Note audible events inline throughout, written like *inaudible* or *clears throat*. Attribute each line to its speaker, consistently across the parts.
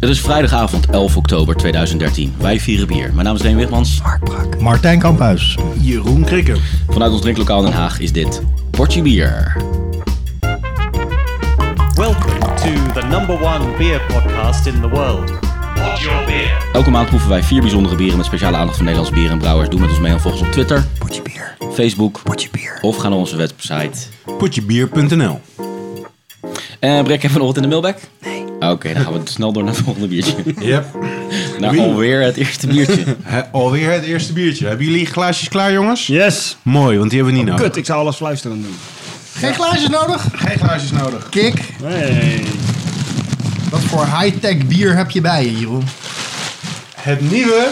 Speaker 1: Het is vrijdagavond 11 oktober 2013. Wij vieren bier. Mijn naam is Leen Wigmans.
Speaker 2: Martijn Kamphuis.
Speaker 3: Jeroen Krikke.
Speaker 1: Vanuit ons drinklokaal in Den Haag is dit Portje Bier.
Speaker 4: Welcome to the number one beer podcast in the world. What's your beer?
Speaker 1: Elke maand proeven wij vier bijzondere bieren met speciale aandacht voor Nederlands bier en brouwers. Doe met ons mee en volg ons op Twitter,
Speaker 2: Potje bier.
Speaker 1: Facebook
Speaker 2: Potje bier.
Speaker 1: of ga naar onze website.
Speaker 3: Potjebier.nl
Speaker 1: En Brek, hebben we nog wat in de mailbag? Nee. Oké, dan gaan we *laughs* snel door naar het volgende
Speaker 3: *laughs*
Speaker 1: biertje.
Speaker 3: Yep.
Speaker 1: Naar
Speaker 3: Wie?
Speaker 1: alweer het eerste
Speaker 3: *laughs*
Speaker 1: biertje.
Speaker 3: He, alweer het eerste biertje. Hebben jullie glaasjes klaar, jongens? Oh,
Speaker 5: Yes.
Speaker 3: Mooi, want die hebben we niet nodig.
Speaker 5: Kut, ik zou alles fluisterend doen.
Speaker 2: Geen glaasjes nodig?
Speaker 3: Geen glaasjes nodig.
Speaker 2: Kik.
Speaker 5: Hey.
Speaker 2: Wat voor high-tech bier heb je bij je, Jeroen?
Speaker 3: Het nieuwe...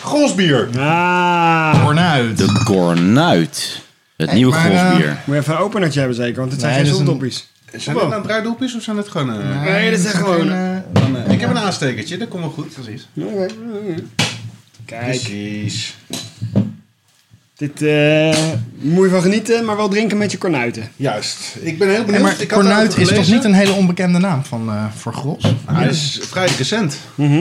Speaker 3: Gonsbier.
Speaker 5: Ah.
Speaker 2: Fornuit.
Speaker 1: De Gornuit. Het
Speaker 2: Hey,
Speaker 1: nieuwe
Speaker 2: maar, eh,
Speaker 1: golfbier.
Speaker 5: Moet je even een openertje hebben zeker, want het zijn
Speaker 2: Nee,
Speaker 5: geen
Speaker 2: dat is een-
Speaker 5: zoeldoppies.
Speaker 3: Zijn dat nou bruidopjes of zijn dat gewoon... eh,
Speaker 5: Nee, dat is echt gewoon...
Speaker 2: eh,
Speaker 3: Ik heb een aanstekertje, dat komt wel goed. Precies.
Speaker 5: Kijk,
Speaker 3: Precies.
Speaker 5: dit eh moet je van genieten, maar wel drinken met je kornuiten.
Speaker 3: Juist. Ik ben heel benieuwd.
Speaker 2: maar
Speaker 3: Ik had
Speaker 2: Fornuit
Speaker 3: daarover
Speaker 2: is toch
Speaker 3: gelezen.
Speaker 2: niet een hele onbekende naam van, eh, voor
Speaker 5: Hm?
Speaker 2: Gros?
Speaker 3: Hij is vrij recent.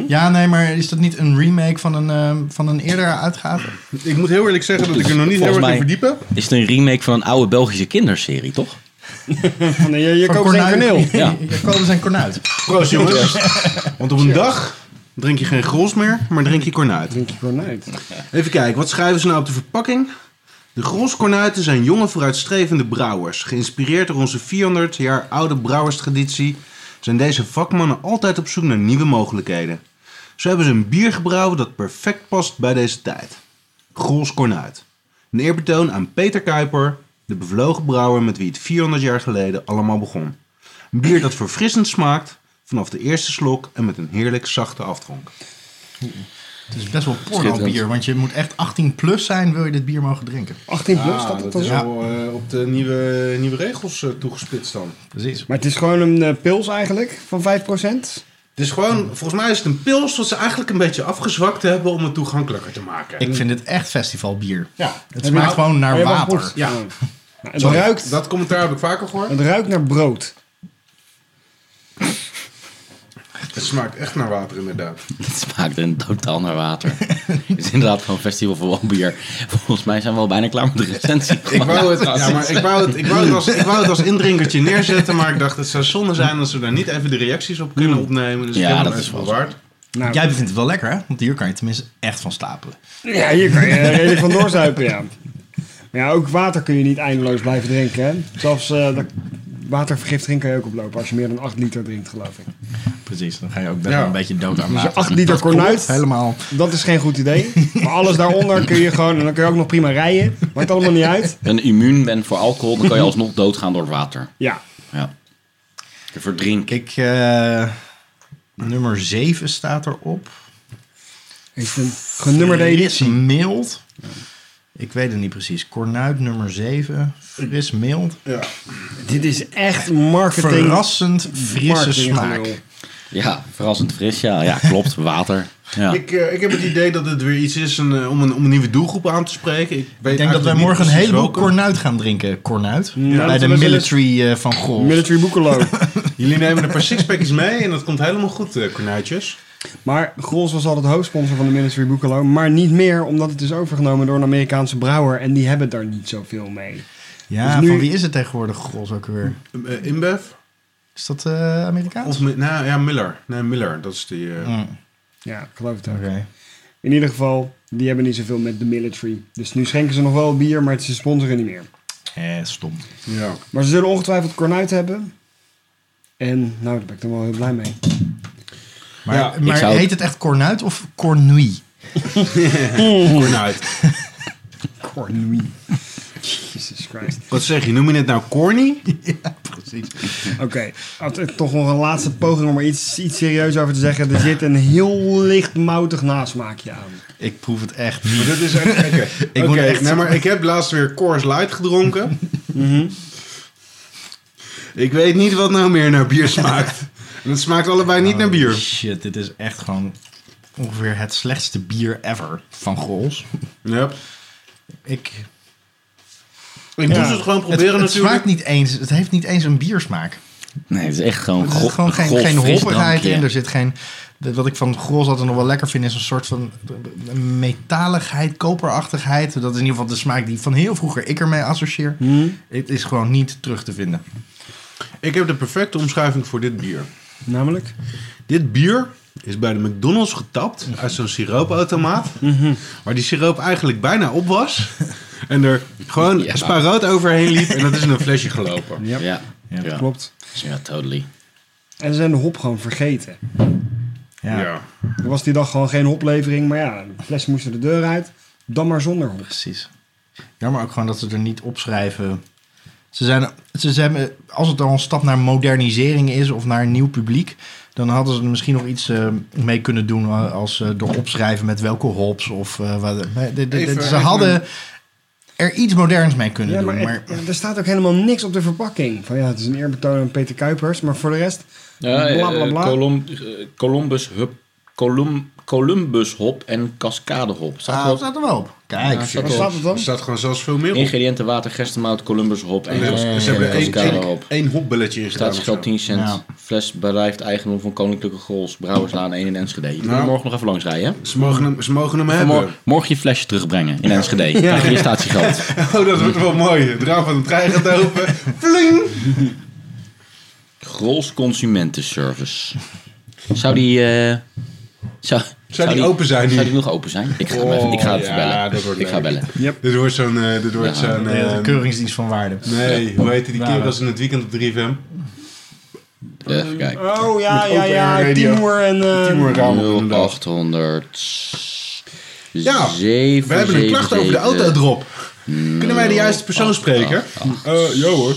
Speaker 2: Ja, nee, maar is dat niet een remake van een, eh, van een eerdere uitgave?
Speaker 3: Ik moet heel eerlijk zeggen dat ik er nog niet heel
Speaker 1: Volgens
Speaker 3: erg in
Speaker 1: mij-
Speaker 3: verdiepen.
Speaker 1: Is het een remake van een oude Belgische kinderserie, toch?
Speaker 5: Van de, je je
Speaker 2: Van
Speaker 5: koopt geen kaneel.
Speaker 1: Ja.
Speaker 2: *laughs* Ja, dus Kobus en Cornuit. *laughs*
Speaker 3: Proost jongens. Want op een dag drink je geen gros meer, maar drink je kornuit.
Speaker 5: Drink je kornuit.
Speaker 3: Even kijken, wat schrijven ze nou op de verpakking? De groskornuiten zijn jonge vooruitstrevende brouwers. Geïnspireerd door onze 400 jaar oude brouwerstraditie zijn deze vakmannen altijd op zoek naar nieuwe mogelijkheden. Zo hebben ze een bier gebrouwen dat perfect past bij deze tijd. Groskornuit. Een eerbetoon aan Peter Kuiper, de bevlogen brouwer met wie het 400 jaar geleden allemaal begon. Een bier dat verfrissend smaakt vanaf de eerste slok en met een heerlijk zachte aftronk.
Speaker 2: Het is best wel porno bier, want je moet echt 18 plus zijn wil je dit bier mogen drinken.
Speaker 5: 18 plus, staat het dan zo?
Speaker 3: al eh, op de nieuwe, nieuwe regels eh, toegespitst dan.
Speaker 2: Precies.
Speaker 5: Maar het is gewoon een eh, pils eigenlijk, van 5%.
Speaker 3: Het is gewoon, volgens mij is het een pils wat ze eigenlijk een beetje afgezwakt hebben om het toegankelijker te maken.
Speaker 2: Ik vind dit echt festivalbier.
Speaker 3: ja,
Speaker 2: Het smaakt
Speaker 3: nou-
Speaker 2: gewoon naar
Speaker 5: Maar je mag
Speaker 2: water.
Speaker 5: goed.
Speaker 3: Ja.
Speaker 5: Nou, Het ruikt,
Speaker 3: Dat commentaar heb ik vaker gehoord.
Speaker 5: het ruikt naar brood.
Speaker 3: Het smaakt echt naar water inderdaad.
Speaker 1: *laughs* Het smaakt een totaal naar water. Het is inderdaad gewoon festival voor bier. Volgens mij zijn we al bijna klaar met de recensie.
Speaker 3: Ik wou het, ja, maar ik wou het, ik wou het, als, ik wou het als indrinkertje neerzetten, maar ik dacht het zou zonde zijn als we daar niet even de reacties op kunnen opnemen. Dus
Speaker 1: Ja,
Speaker 3: ik heb hem
Speaker 1: dat
Speaker 3: even
Speaker 1: is wel
Speaker 3: bewaard.
Speaker 5: Nou,
Speaker 2: Jij vindt het wel lekker, hè? Want hier kan je tenminste echt van stapelen.
Speaker 5: Ja, hier kan je redelijk van doorzuipen, ja. Maar ja, ook water kun je niet eindeloos blijven drinken, hè. Zelfs eh dat watervergiftiging kan je ook oplopen als je meer dan 8 liter drinkt, geloof ik.
Speaker 2: Precies, dan ga je ook best
Speaker 3: Ja.
Speaker 2: wel een beetje dood aan
Speaker 5: Dus je
Speaker 2: water.
Speaker 5: 8 liter kornuit,
Speaker 2: Helemaal.
Speaker 5: dat is geen goed
Speaker 2: *laughs*
Speaker 5: idee. Maar alles daaronder kun je gewoon, en dan kun je ook nog prima rijden. Maakt allemaal niet uit.
Speaker 1: een immuun bent voor alcohol, dan kan je alsnog doodgaan door water.
Speaker 5: Ja,
Speaker 1: Ja. Te verdrinken.
Speaker 2: Ik, eh, nummer 7 staat erop.
Speaker 5: heeft een genummerde
Speaker 2: Fris
Speaker 5: editie.
Speaker 2: mild. Ik weet het niet precies. Cornuit nummer 7. Fris mild.
Speaker 5: Dit is echt marketing.
Speaker 2: Verrassend frisse
Speaker 5: marketinggelul.
Speaker 2: smaak.
Speaker 1: Ja, verrassend fris. Ja, ja klopt. Water. Ja.
Speaker 3: Ik, eh, ik heb het idee dat het weer iets is een, eh, om, een, om een nieuwe doelgroep aan te spreken. Ik, weet
Speaker 2: Ik denk dat wij
Speaker 3: eigenlijk niet
Speaker 2: morgen een
Speaker 3: precies
Speaker 2: heleboel
Speaker 3: welke.
Speaker 2: cornuit gaan drinken. Cornuit.
Speaker 5: Ja,
Speaker 2: Bij de
Speaker 5: dat is-
Speaker 2: military eh, van Golf.
Speaker 5: Military Boekelo.
Speaker 2: *laughs*
Speaker 3: Jullie nemen een paar sixpackjes mee en dat komt helemaal goed, eh kornuitjes.
Speaker 5: Maar Grols was altijd hoofdsponsor van de Ministry Boekelo. Maar niet meer, omdat het is overgenomen door een Amerikaanse brouwer. En die hebben daar niet zoveel mee.
Speaker 2: Ja,
Speaker 5: Dus nu-
Speaker 2: van wie is het tegenwoordig Golf ook weer?
Speaker 3: Eh, Inbev?
Speaker 2: Is dat eh, Amerikaans?
Speaker 3: Of, Mi- nou ja, Miller. Nee, Miller, dat is die... eh,
Speaker 2: Mm,
Speaker 5: Ja, ik geloof het ook.
Speaker 2: Oké.
Speaker 5: In ieder geval, die hebben niet zoveel met de military. Dus nu schenken ze nog wel bier, maar ze sponsoren niet meer.
Speaker 2: Eh, stom.
Speaker 3: Ja.
Speaker 5: Maar ze zullen ongetwijfeld Cornuit hebben. En nou, daar ben ik dan wel heel blij mee.
Speaker 2: Maar,
Speaker 3: Ja,
Speaker 1: ik
Speaker 2: maar
Speaker 1: zou-
Speaker 2: heet het echt cornuit of cornui?
Speaker 3: Kornuit.
Speaker 5: Cornuit. Jesus Christ.
Speaker 3: Wat zeg je, noem je het nou corny?
Speaker 2: Ja, precies.
Speaker 5: Oké, had ik toch nog een laatste poging om er iets, iets serieus over te zeggen. Er zit een heel licht moutig nasmaakje aan.
Speaker 2: Ik proef het echt niet.
Speaker 3: *laughs* Dat is echt gekke.
Speaker 2: Ik
Speaker 3: Oké,
Speaker 2: moet echt-
Speaker 3: nou, maar *laughs* ik heb laatst weer Coors Light gedronken. *laughs* Mhm. Ik weet niet wat nou meer naar bier smaakt. *laughs* Nou, dus- En het smaakt allebei niet naar
Speaker 2: Holy
Speaker 3: bier.
Speaker 2: Shit, dit is echt gewoon ongeveer het slechtste bier ever van Grols.
Speaker 3: Ja.
Speaker 2: Ik,
Speaker 3: Ik moest het gewoon
Speaker 2: het,
Speaker 3: proberen
Speaker 2: het
Speaker 3: natuurlijk.
Speaker 2: smaakt niet eens, het heeft niet eens een biersmaak.
Speaker 1: Nee, het is echt gewoon
Speaker 2: Er zit
Speaker 1: gro-
Speaker 2: gewoon geen,
Speaker 1: grof
Speaker 2: geen hoppigheid
Speaker 1: frisdrankje.
Speaker 2: in. Er zit geen, de- wat ik van Grols altijd nog wel lekker vind, is een soort van metaligheid, koperachtigheid. Dat is in ieder geval de smaak die van heel vroeger ik ermee associeer.
Speaker 3: Hmm.
Speaker 2: Het is gewoon niet terug te vinden.
Speaker 3: Ik heb de perfecte omschrijving voor dit bier.
Speaker 5: Namelijk?
Speaker 3: Dit bier is bij de McDonald's getapt uit zo'n siroopautomaat. Waar die siroop eigenlijk bijna op *laughs* was. En er gewoon
Speaker 1: Ja.
Speaker 3: spaarrood overheen liep en dat is in een flesje gelopen.
Speaker 5: Ja,
Speaker 1: Ja, ja, ja.
Speaker 5: klopt.
Speaker 1: totally.
Speaker 5: En ze zijn de hop gewoon vergeten.
Speaker 3: Ja.
Speaker 5: Er was die dag gewoon geen hoplevering, maar ja, de flessen moesten de deur uit. Dan maar zonder hop.
Speaker 2: Precies. Jammer ook gewoon dat ze er niet opschrijven. Ze zijn, ze zijn, als het al een stap naar modernisering is of naar een nieuw publiek, dan hadden ze er misschien nog iets eh, mee kunnen doen eh, als eh door opschrijven met welke hops of eh, wat. maar de- de-
Speaker 3: Even-
Speaker 2: de- ze
Speaker 3: even-
Speaker 2: hadden er iets moderns mee kunnen
Speaker 5: Ja, maar,
Speaker 2: doen.
Speaker 5: het-
Speaker 2: maar
Speaker 5: ja, er staat ook helemaal niks op de verpakking. Van ja, het is een eerbetoon aan Peter Kuipers, maar voor de rest...
Speaker 1: Ja, eh,
Speaker 5: bla, bla, bla.
Speaker 1: Colum- eh, Columbus Hub. Colum, Columbus hop en Cascade hop. Staat
Speaker 2: ah,
Speaker 1: wel-
Speaker 2: dat staat er wel op. Kijk,
Speaker 1: Ja,
Speaker 5: Waar staat het dan?
Speaker 3: Er staat gewoon zelfs veel meer op.
Speaker 1: Ingrediënten water, gerstemout, Columbus hop eh, en
Speaker 3: En er-
Speaker 1: Cas-
Speaker 3: ze hebben
Speaker 1: en
Speaker 3: één,
Speaker 1: Cascade
Speaker 3: één,
Speaker 1: hop.
Speaker 3: één hopbelletje in gedaan. of zo.
Speaker 1: Staatsgeld 10 cent.
Speaker 2: Ja.
Speaker 1: Fles berijfd eigendom van Koninklijke Grols. Brouwerslaan 1 in Enschede. Je moet
Speaker 3: Nou.
Speaker 1: er morgen nog even langs rijden. hè?
Speaker 3: Ze mogen hem, ze mogen hem hebben.
Speaker 1: Vanmorgen- morgen je flesje terugbrengen in Enschede. Ja. Krijg je je statiegeld.
Speaker 3: *laughs* Oh, dat wordt wel mooi. Het raam van de trein gaat open. *laughs* Fling!
Speaker 1: Grols Consumentenservice. Zou die... eh, zou,
Speaker 3: die open zijn nu?
Speaker 1: Zou die nog open zijn? Ik ga, hem even, ik ga
Speaker 3: Oh,
Speaker 1: even
Speaker 3: ja,
Speaker 1: bellen.
Speaker 3: dat wordt
Speaker 1: ik ga
Speaker 3: leuk.
Speaker 1: bellen.
Speaker 3: Dit wordt zo'n... eh, dit wordt
Speaker 1: Ja.
Speaker 3: zo'n
Speaker 2: de,
Speaker 3: eh,
Speaker 2: de keuringsdienst van waarde.
Speaker 3: nee, hoe heette die
Speaker 2: Ja.
Speaker 3: kerels in het weekend op 3FM?
Speaker 1: Even kijken.
Speaker 5: Oh ja, ja,
Speaker 3: ja,
Speaker 5: ja, Timur en... eh,
Speaker 3: Timur Ramel, inderdaad.
Speaker 1: 0800...
Speaker 3: Ja, We hebben een klacht over de autodrop. Kunnen wij de juiste persoon spreken? Eh, ja hoor.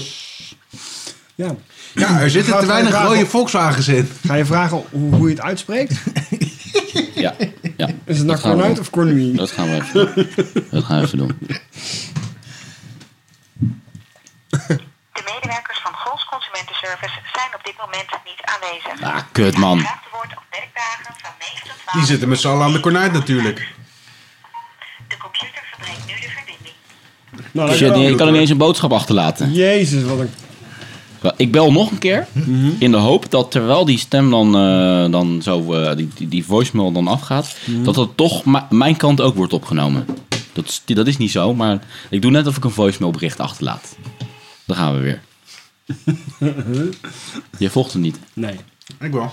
Speaker 5: Ja.
Speaker 3: Ja, er zitten
Speaker 5: Gaat
Speaker 3: te weinig
Speaker 5: hij vragen
Speaker 3: rode
Speaker 5: of-
Speaker 3: Volkswagens in.
Speaker 5: Ga je vragen hoe, hoe je het uitspreekt?
Speaker 1: Ja, ja.
Speaker 5: Is
Speaker 1: Dat gaan
Speaker 5: het nou
Speaker 1: we
Speaker 5: Cornuit
Speaker 1: doen.
Speaker 5: of Cornui?
Speaker 1: Dat gaan we even doen. Dat gaan we even doen.
Speaker 6: De medewerkers van Grols Consumentenservice zijn op dit moment niet aanwezig.
Speaker 1: Ah, kut man.
Speaker 6: Graag te woord op werkdagen van 9 tot 12.
Speaker 3: Die zitten met z'n allen aan de kornuit natuurlijk.
Speaker 6: De computer verbreekt nu de verbinding.
Speaker 5: Nou,
Speaker 1: Dus
Speaker 5: dat
Speaker 1: je,
Speaker 5: wel.
Speaker 1: je kan niet eens een boodschap achterlaten.
Speaker 5: Jezus, wat een...
Speaker 1: Wel, Ik bel nog een keer.
Speaker 5: Mhm.
Speaker 1: In de hoop dat terwijl die stem dan, eh, dan zo, eh, die, die, die voicemail dan afgaat,
Speaker 5: Mhm.
Speaker 1: dat dat toch ma- mijn kant ook wordt opgenomen. Dat is, dat is niet zo, maar ik doe net of ik een voicemailbericht achterlaat. Daar gaan we
Speaker 5: *laughs*
Speaker 1: weer. Je volgt hem niet.
Speaker 5: Nee.
Speaker 3: Ik wel.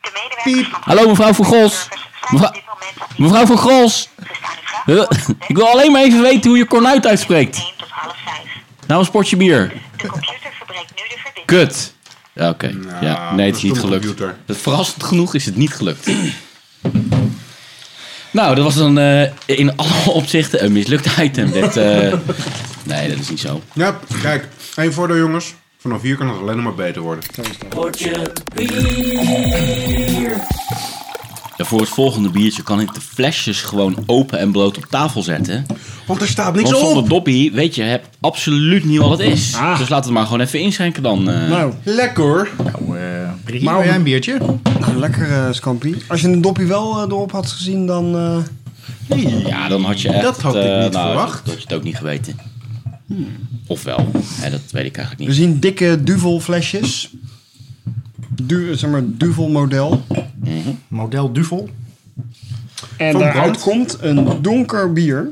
Speaker 6: De medewerkers van
Speaker 1: Hallo mevrouw van Gros.
Speaker 6: Service zijn op
Speaker 1: Mevrouw,
Speaker 6: dit moment niet
Speaker 1: mevrouw van Gros.
Speaker 6: Ze staan u graag te
Speaker 1: Huh?
Speaker 6: woord op werkdagen
Speaker 1: Ik wil alleen maar even weten hoe je Cornuit uitspreekt.
Speaker 6: 1 tot half 5.
Speaker 1: Nou een sportje bier.
Speaker 6: De computer verbreekt nu de verbinding.
Speaker 1: Kut. Ja, Oké. ja,
Speaker 3: Nou,
Speaker 1: nee, het is
Speaker 3: een
Speaker 1: niet
Speaker 3: stomme
Speaker 1: gelukt.
Speaker 3: computer.
Speaker 1: Het verrassend genoeg is het niet gelukt. nou, dat was dan eh, in alle *laughs* opzichten een mislukt item. Dit,
Speaker 3: *laughs*
Speaker 1: eh, nee, dat is niet zo.
Speaker 3: Ja, kijk. één voordeel jongens. Vanaf hier kan het alleen nog maar beter worden.
Speaker 1: Ja, voor het volgende biertje kan ik de flesjes gewoon open en bloot op tafel zetten.
Speaker 3: Want er staat niks
Speaker 1: Want
Speaker 3: op.
Speaker 1: zonder Dobby, weet je, heb absoluut niet wat het is. Dus
Speaker 5: Ah.
Speaker 1: laten we het maar gewoon even inschenken dan. eh.
Speaker 5: Nou,
Speaker 3: Lekker hoor.
Speaker 2: Nou, eh, Brigitte,
Speaker 5: Maar
Speaker 2: wil jij
Speaker 5: om-
Speaker 2: een biertje?
Speaker 5: nou, lekker eh Scampie. Als je een dopje wel eh, erop had gezien, dan... eh,
Speaker 1: Ja, dan had je echt...
Speaker 3: Dat had ik
Speaker 1: eh,
Speaker 3: niet
Speaker 1: nou,
Speaker 3: verwacht.
Speaker 1: Dat had je het ook niet geweten. Ofwel, hè, dat weet ik eigenlijk
Speaker 5: We
Speaker 1: niet.
Speaker 5: zien dikke duvel flesjes. Du, zeg maar, duvel model.
Speaker 2: Model Duvel.
Speaker 5: En
Speaker 3: Van
Speaker 5: daaruit
Speaker 3: brand.
Speaker 5: komt een donker bier.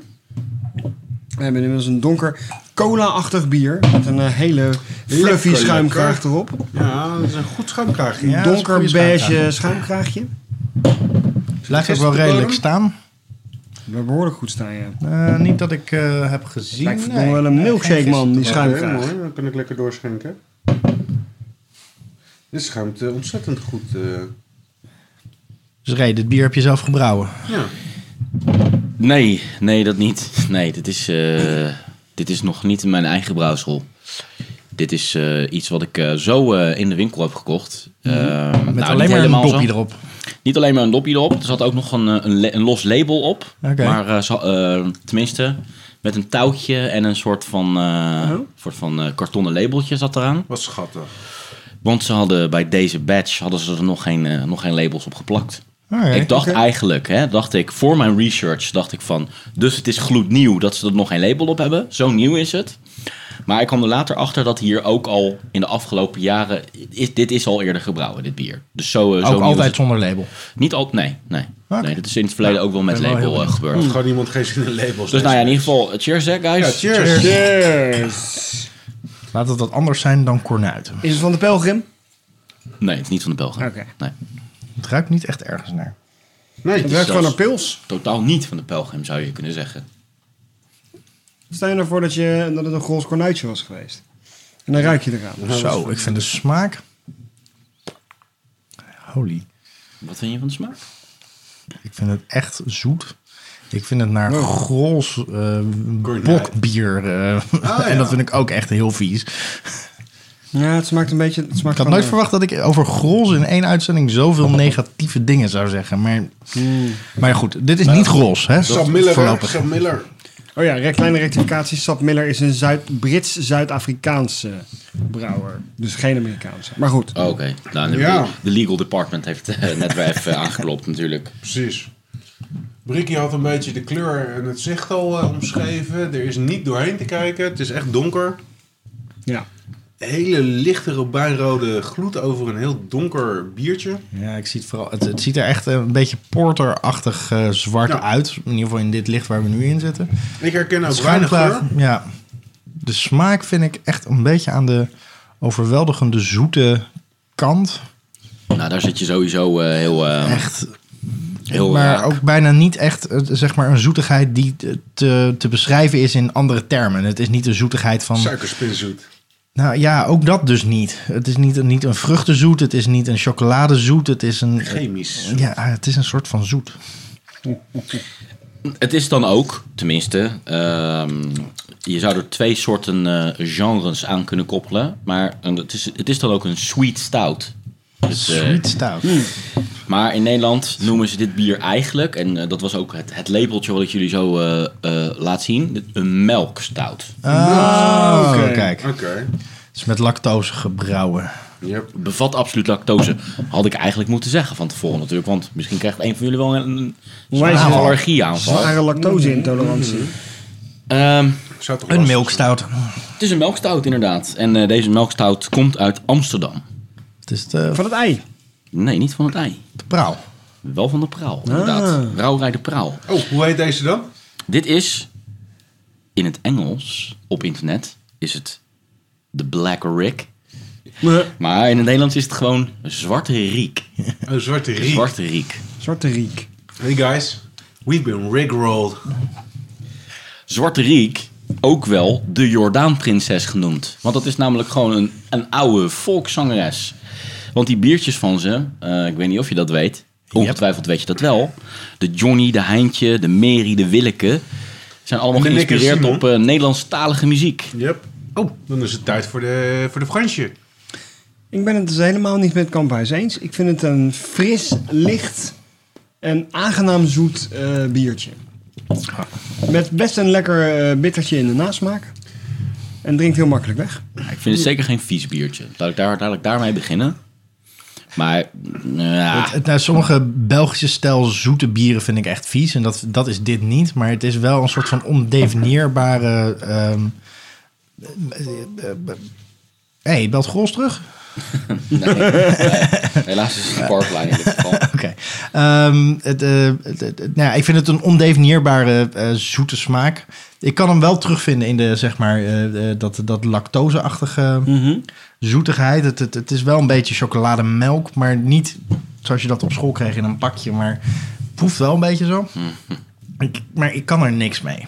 Speaker 5: We hebben inmiddels een donker cola-achtig bier. Met een eh, hele fluffy
Speaker 3: Lekker,
Speaker 5: schuimkraag
Speaker 3: lekker.
Speaker 5: erop.
Speaker 3: Ja, dat is een goed schuimkraagje.
Speaker 2: Ja, dat is een
Speaker 5: donker
Speaker 2: goede
Speaker 5: beige schuimkraagje.
Speaker 2: Blijft ook
Speaker 3: Is
Speaker 2: wel
Speaker 3: het de
Speaker 2: redelijk
Speaker 3: bodem?
Speaker 2: staan.
Speaker 5: We behoorlijk goed staan, ja.
Speaker 2: Eh, niet dat ik eh, heb gezien.
Speaker 5: Lijkt
Speaker 2: nee.
Speaker 5: verdomme wel een milkshake, man, die
Speaker 3: Schuimkraag.
Speaker 5: schuimkraag.
Speaker 3: mooi. Dan kan ik lekker doorschenken. Dit schuimt eh, ontzettend goed. eh.
Speaker 2: Dus Ray, dit bier heb je zelf gebrouwen.
Speaker 3: ja.
Speaker 1: Nee, nee, dat niet. Nee, dit is, eh, dit is nog niet mijn eigen brouwsel. Dit is eh, iets wat ik eh, zo eh, in de winkel heb gekocht. Eh, nou,
Speaker 2: Mhm. Met
Speaker 1: niet
Speaker 2: alleen maar een
Speaker 1: helemaal zo.
Speaker 2: dopje erop.
Speaker 1: Niet alleen maar een dopje erop. Er zat ook nog een, eh, een, le- een los label op.
Speaker 2: Oké.
Speaker 1: Maar eh, zo- eh, tenminste, met een touwtje en een soort van, eh,
Speaker 2: Oh.
Speaker 1: soort van eh, kartonnen labeltje zat eraan.
Speaker 3: Wat schattig.
Speaker 1: Want ze hadden bij deze badge hadden ze er nog geen, eh, nog geen labels op geplakt.
Speaker 2: Oké.
Speaker 1: ik dacht eigenlijk, hè, dacht ik, voor mijn research dacht ik van, dus het is gloednieuw dat ze er nog geen label op hebben. Zo nieuw is het. Maar ik kwam er later achter dat hier ook al in de afgelopen jaren... Is, dit is al eerder gebrouwen, dit bier. Dus zo, eh, zo
Speaker 2: Ook
Speaker 1: nieuw is
Speaker 2: altijd
Speaker 1: het.
Speaker 2: zonder label.
Speaker 1: Niet al, nee, nee.
Speaker 2: Oké.
Speaker 1: nee. Dat is in het verleden ook wel met
Speaker 2: ben wel
Speaker 1: label
Speaker 2: heel
Speaker 1: eh, gebeurd.
Speaker 3: Gewoon iemand geen zin in labels.
Speaker 1: Dus nou ja, in ieder geval, eh, cheers hè, guys.
Speaker 3: Hmm. Ja, cheers.
Speaker 5: Cheers.
Speaker 2: Laat het wat anders zijn dan kornuiten.
Speaker 5: Is het van de pelgrim?
Speaker 1: Nee, het is niet van de Belgen.
Speaker 5: Oké.
Speaker 1: Nee,
Speaker 2: Het ruikt niet echt ergens naar.
Speaker 3: Nee,
Speaker 5: Het werkt
Speaker 1: zelfs-
Speaker 5: gewoon naar pils.
Speaker 1: totaal niet van de Pelgrim, zou je kunnen zeggen.
Speaker 5: Stel je ervoor dat, je, dat het een grols kornuitje was geweest. En dan ruik je eraan.
Speaker 1: Nou,
Speaker 2: Zo, ik vind de smaak... Holy.
Speaker 1: Wat vind je van de smaak?
Speaker 2: Ik vind het echt zoet. Ik vind het
Speaker 1: Nou.
Speaker 2: naar grols eh,
Speaker 3: Kornuit.
Speaker 2: bokbier. eh,
Speaker 3: ja.
Speaker 1: Ah,
Speaker 2: *laughs* en dat vind ik ook echt heel vies.
Speaker 5: Ja, het smaakt een beetje... Het smaakt eh,
Speaker 2: Ik had
Speaker 5: gewoon,
Speaker 2: nooit verwacht dat ik over grols in één uitzending zoveel
Speaker 1: Oh.
Speaker 2: negatieve dingen zou zeggen. Maar,
Speaker 1: Hmm.
Speaker 2: maar ja, goed, dit is
Speaker 1: Nou,
Speaker 2: niet grols, hè?
Speaker 3: Sam Miller. hè?
Speaker 2: Voorlopig.
Speaker 3: Sam Miller.
Speaker 5: eh, Oh ja, re- kleine rectificatie. Sap Miller is een Zuid, Brits-Zuid-Afrikaanse brouwer. Dus geen Amerikaanse. Maar goed.
Speaker 1: Oh, Oké, nou, de,
Speaker 3: Ja.
Speaker 1: de legal department heeft eh, net weer even aangeklopt natuurlijk.
Speaker 3: Precies. Bricky had een beetje de kleur en het zicht al eh, omschreven. Er is niet doorheen te kijken. Het is echt donker.
Speaker 5: Ja.
Speaker 3: Hele lichte robijnrode gloed over een heel donker biertje.
Speaker 2: Ja, ik zie het vooral. Het, het ziet er echt een beetje porterachtig eh, zwart
Speaker 3: Ja. Nou,
Speaker 2: uit. In ieder geval in dit licht waar we nu in zitten.
Speaker 3: Ik herken ook weinig
Speaker 2: Schuimlaag,
Speaker 3: kleur.
Speaker 2: ja. De smaak vind ik echt een beetje aan de overweldigende zoete kant.
Speaker 1: Nou, daar zit je sowieso eh, heel... eh,
Speaker 2: Echt.
Speaker 1: heel eh,
Speaker 2: maar
Speaker 1: raak.
Speaker 2: ook bijna niet echt eh, zeg maar een zoetigheid die te- te, te beschrijven is in andere termen. Het is niet de zoetigheid van.
Speaker 3: Suikerspinzoet.
Speaker 2: Nou ja, ook dat dus niet. Het is niet, een- niet een vruchtenzoet, het is niet een chocoladezoet, het is een...
Speaker 3: Chemisch.
Speaker 2: Ja, het is een soort van zoet.
Speaker 1: Het is dan ook, tenminste, ehm, je zou er twee soorten eh, genres aan kunnen koppelen. Maar een- het, is, het is dan ook een sweet stout. Dus, eh,
Speaker 2: Sweet stout.
Speaker 1: maar in Nederland noemen ze dit bier eigenlijk, en eh, dat was ook het, het labeltje wat ik jullie zo eh, eh, laat zien, een melkstout.
Speaker 2: Oh,
Speaker 5: Oké.
Speaker 2: kijk.
Speaker 3: Oké.
Speaker 2: Het is met lactose gebrouwen.
Speaker 3: Yep.
Speaker 1: Bevat absoluut lactose, had ik eigenlijk moeten zeggen van tevoren natuurlijk. Want misschien krijgt een van jullie wel een, een zware
Speaker 5: Wijze-
Speaker 1: allergieaanval.
Speaker 5: Zware
Speaker 2: Mm.
Speaker 5: lactose-intolerantie.
Speaker 1: Ehm,
Speaker 3: Zou toch
Speaker 2: Een
Speaker 3: lastig
Speaker 2: milk stout.
Speaker 1: het is een melkstout inderdaad. En eh, deze melkstout komt uit Amsterdam.
Speaker 2: Het is de
Speaker 5: Van het ei.
Speaker 1: Nee, niet van het ei.
Speaker 2: de praal.
Speaker 1: Wel van de praal, inderdaad. Rauwrij de praal.
Speaker 3: zijn. Oh, hoe heet deze dan?
Speaker 1: Dit is, in het Engels, op internet, is het de Black Rick. Maar in het Nederlands is het gewoon Zwarte Riek.
Speaker 3: Een zwarte riet.
Speaker 1: Zwarte Riek.
Speaker 5: Zwarte riek.
Speaker 3: Hey guys, we've been rigrolled.
Speaker 1: Zwarte Riek, ook wel de Jordaanprinses genoemd. Want dat is namelijk gewoon een, een oude volkszangeres. Want die biertjes van ze, eh, ik weet niet of je dat weet. Ongetwijfeld weet je dat wel. De Johnny, de Heintje, de Mary, de Willeke. Zijn allemaal
Speaker 3: En de Nick en
Speaker 1: geïnspireerd
Speaker 3: Simon.
Speaker 1: op eh, Nederlandstalige muziek.
Speaker 3: Yep. Oh, dan is het tijd voor de, voor de Fransje.
Speaker 5: Ik ben het dus helemaal niet met Kamphuis eens. Ik vind het een fris, licht en aangenaam zoet eh, biertje. Met best een lekker eh, bittertje in de nasmaak. En drinkt heel makkelijk weg.
Speaker 1: Ik vind het zeker geen vies biertje. Laat ik, daar, laat ik daarmee beginnen. Maar, nou ja,
Speaker 2: Het, het- nou, sommige Belgische stijl zoete bieren vind ik echt vies. En dat, dat is dit niet. Maar het is wel een soort van ondefinieerbare... ehm, eh, eh, eh, Hé, hey, belt Grols terug?
Speaker 1: helaas is het een parklijn in dit
Speaker 2: *laughs*
Speaker 1: geval.
Speaker 2: Oké. Ehm, het, eh, het- het- het- nou ja, ik vind het een ondefinieerbare eh, zoete smaak. Ik kan hem wel terugvinden in de, zeg maar, eh, eh, dat, dat lactoseachtige zoetigheid. Het, het, het is wel een beetje chocolademelk, maar niet zoals je dat op school kreeg in een pakje. Maar het proeft wel een beetje zo. Ik, maar ik kan er niks mee.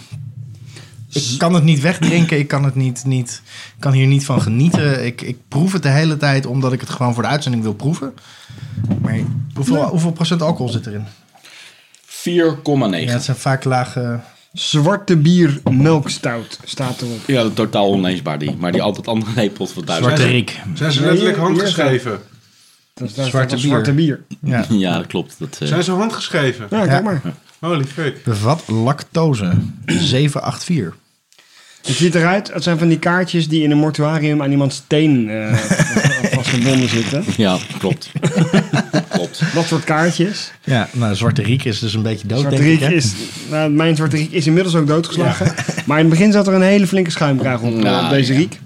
Speaker 2: Ik kan het niet wegdrinken, ik kan, het niet, niet, ik kan hier niet van genieten. Ik, ik proef het de hele tijd omdat ik het gewoon voor de uitzending wil proeven. Maar hoeveel, hoeveel procent alcohol zit erin?
Speaker 1: 4,9.
Speaker 2: Ja, het zijn vaak lage...
Speaker 5: Zwarte bier melkstout staat erop.
Speaker 1: Ja, dat totaal onleesbaar die. Maar die altijd andere lepels van thuis.
Speaker 2: Zwarte Riek.
Speaker 3: Zijn ze
Speaker 5: Nee,
Speaker 3: letterlijk
Speaker 5: hier- hier
Speaker 3: handgeschreven?
Speaker 5: Dat is daar
Speaker 2: Zwarte
Speaker 5: staat
Speaker 2: bier.
Speaker 5: Zwarte bier.
Speaker 2: Ja.
Speaker 1: Ja, dat klopt. Dat, eh,
Speaker 3: Zijn ze handgeschreven?
Speaker 5: Ja,
Speaker 2: Ja.
Speaker 5: kijk maar.
Speaker 3: Holy fuck.
Speaker 2: Bevat lactose. 784.
Speaker 5: Het ziet eruit, het zijn van die kaartjes die in een mortuarium aan iemands teen eh, *laughs* vastgebonden zitten.
Speaker 1: ja, klopt. klopt.
Speaker 5: Dat soort kaartjes.
Speaker 2: Ja, nou, Zwarte Riek is dus een beetje dood,
Speaker 5: Zwarte
Speaker 2: denk ik.
Speaker 5: Riek
Speaker 2: hè?
Speaker 5: is, nou, mijn Zwarte Riek is inmiddels ook doodgeslagen. Maar in het begin zat er een hele flinke schuimkraag op, eh,
Speaker 1: Nou,
Speaker 5: op deze riek.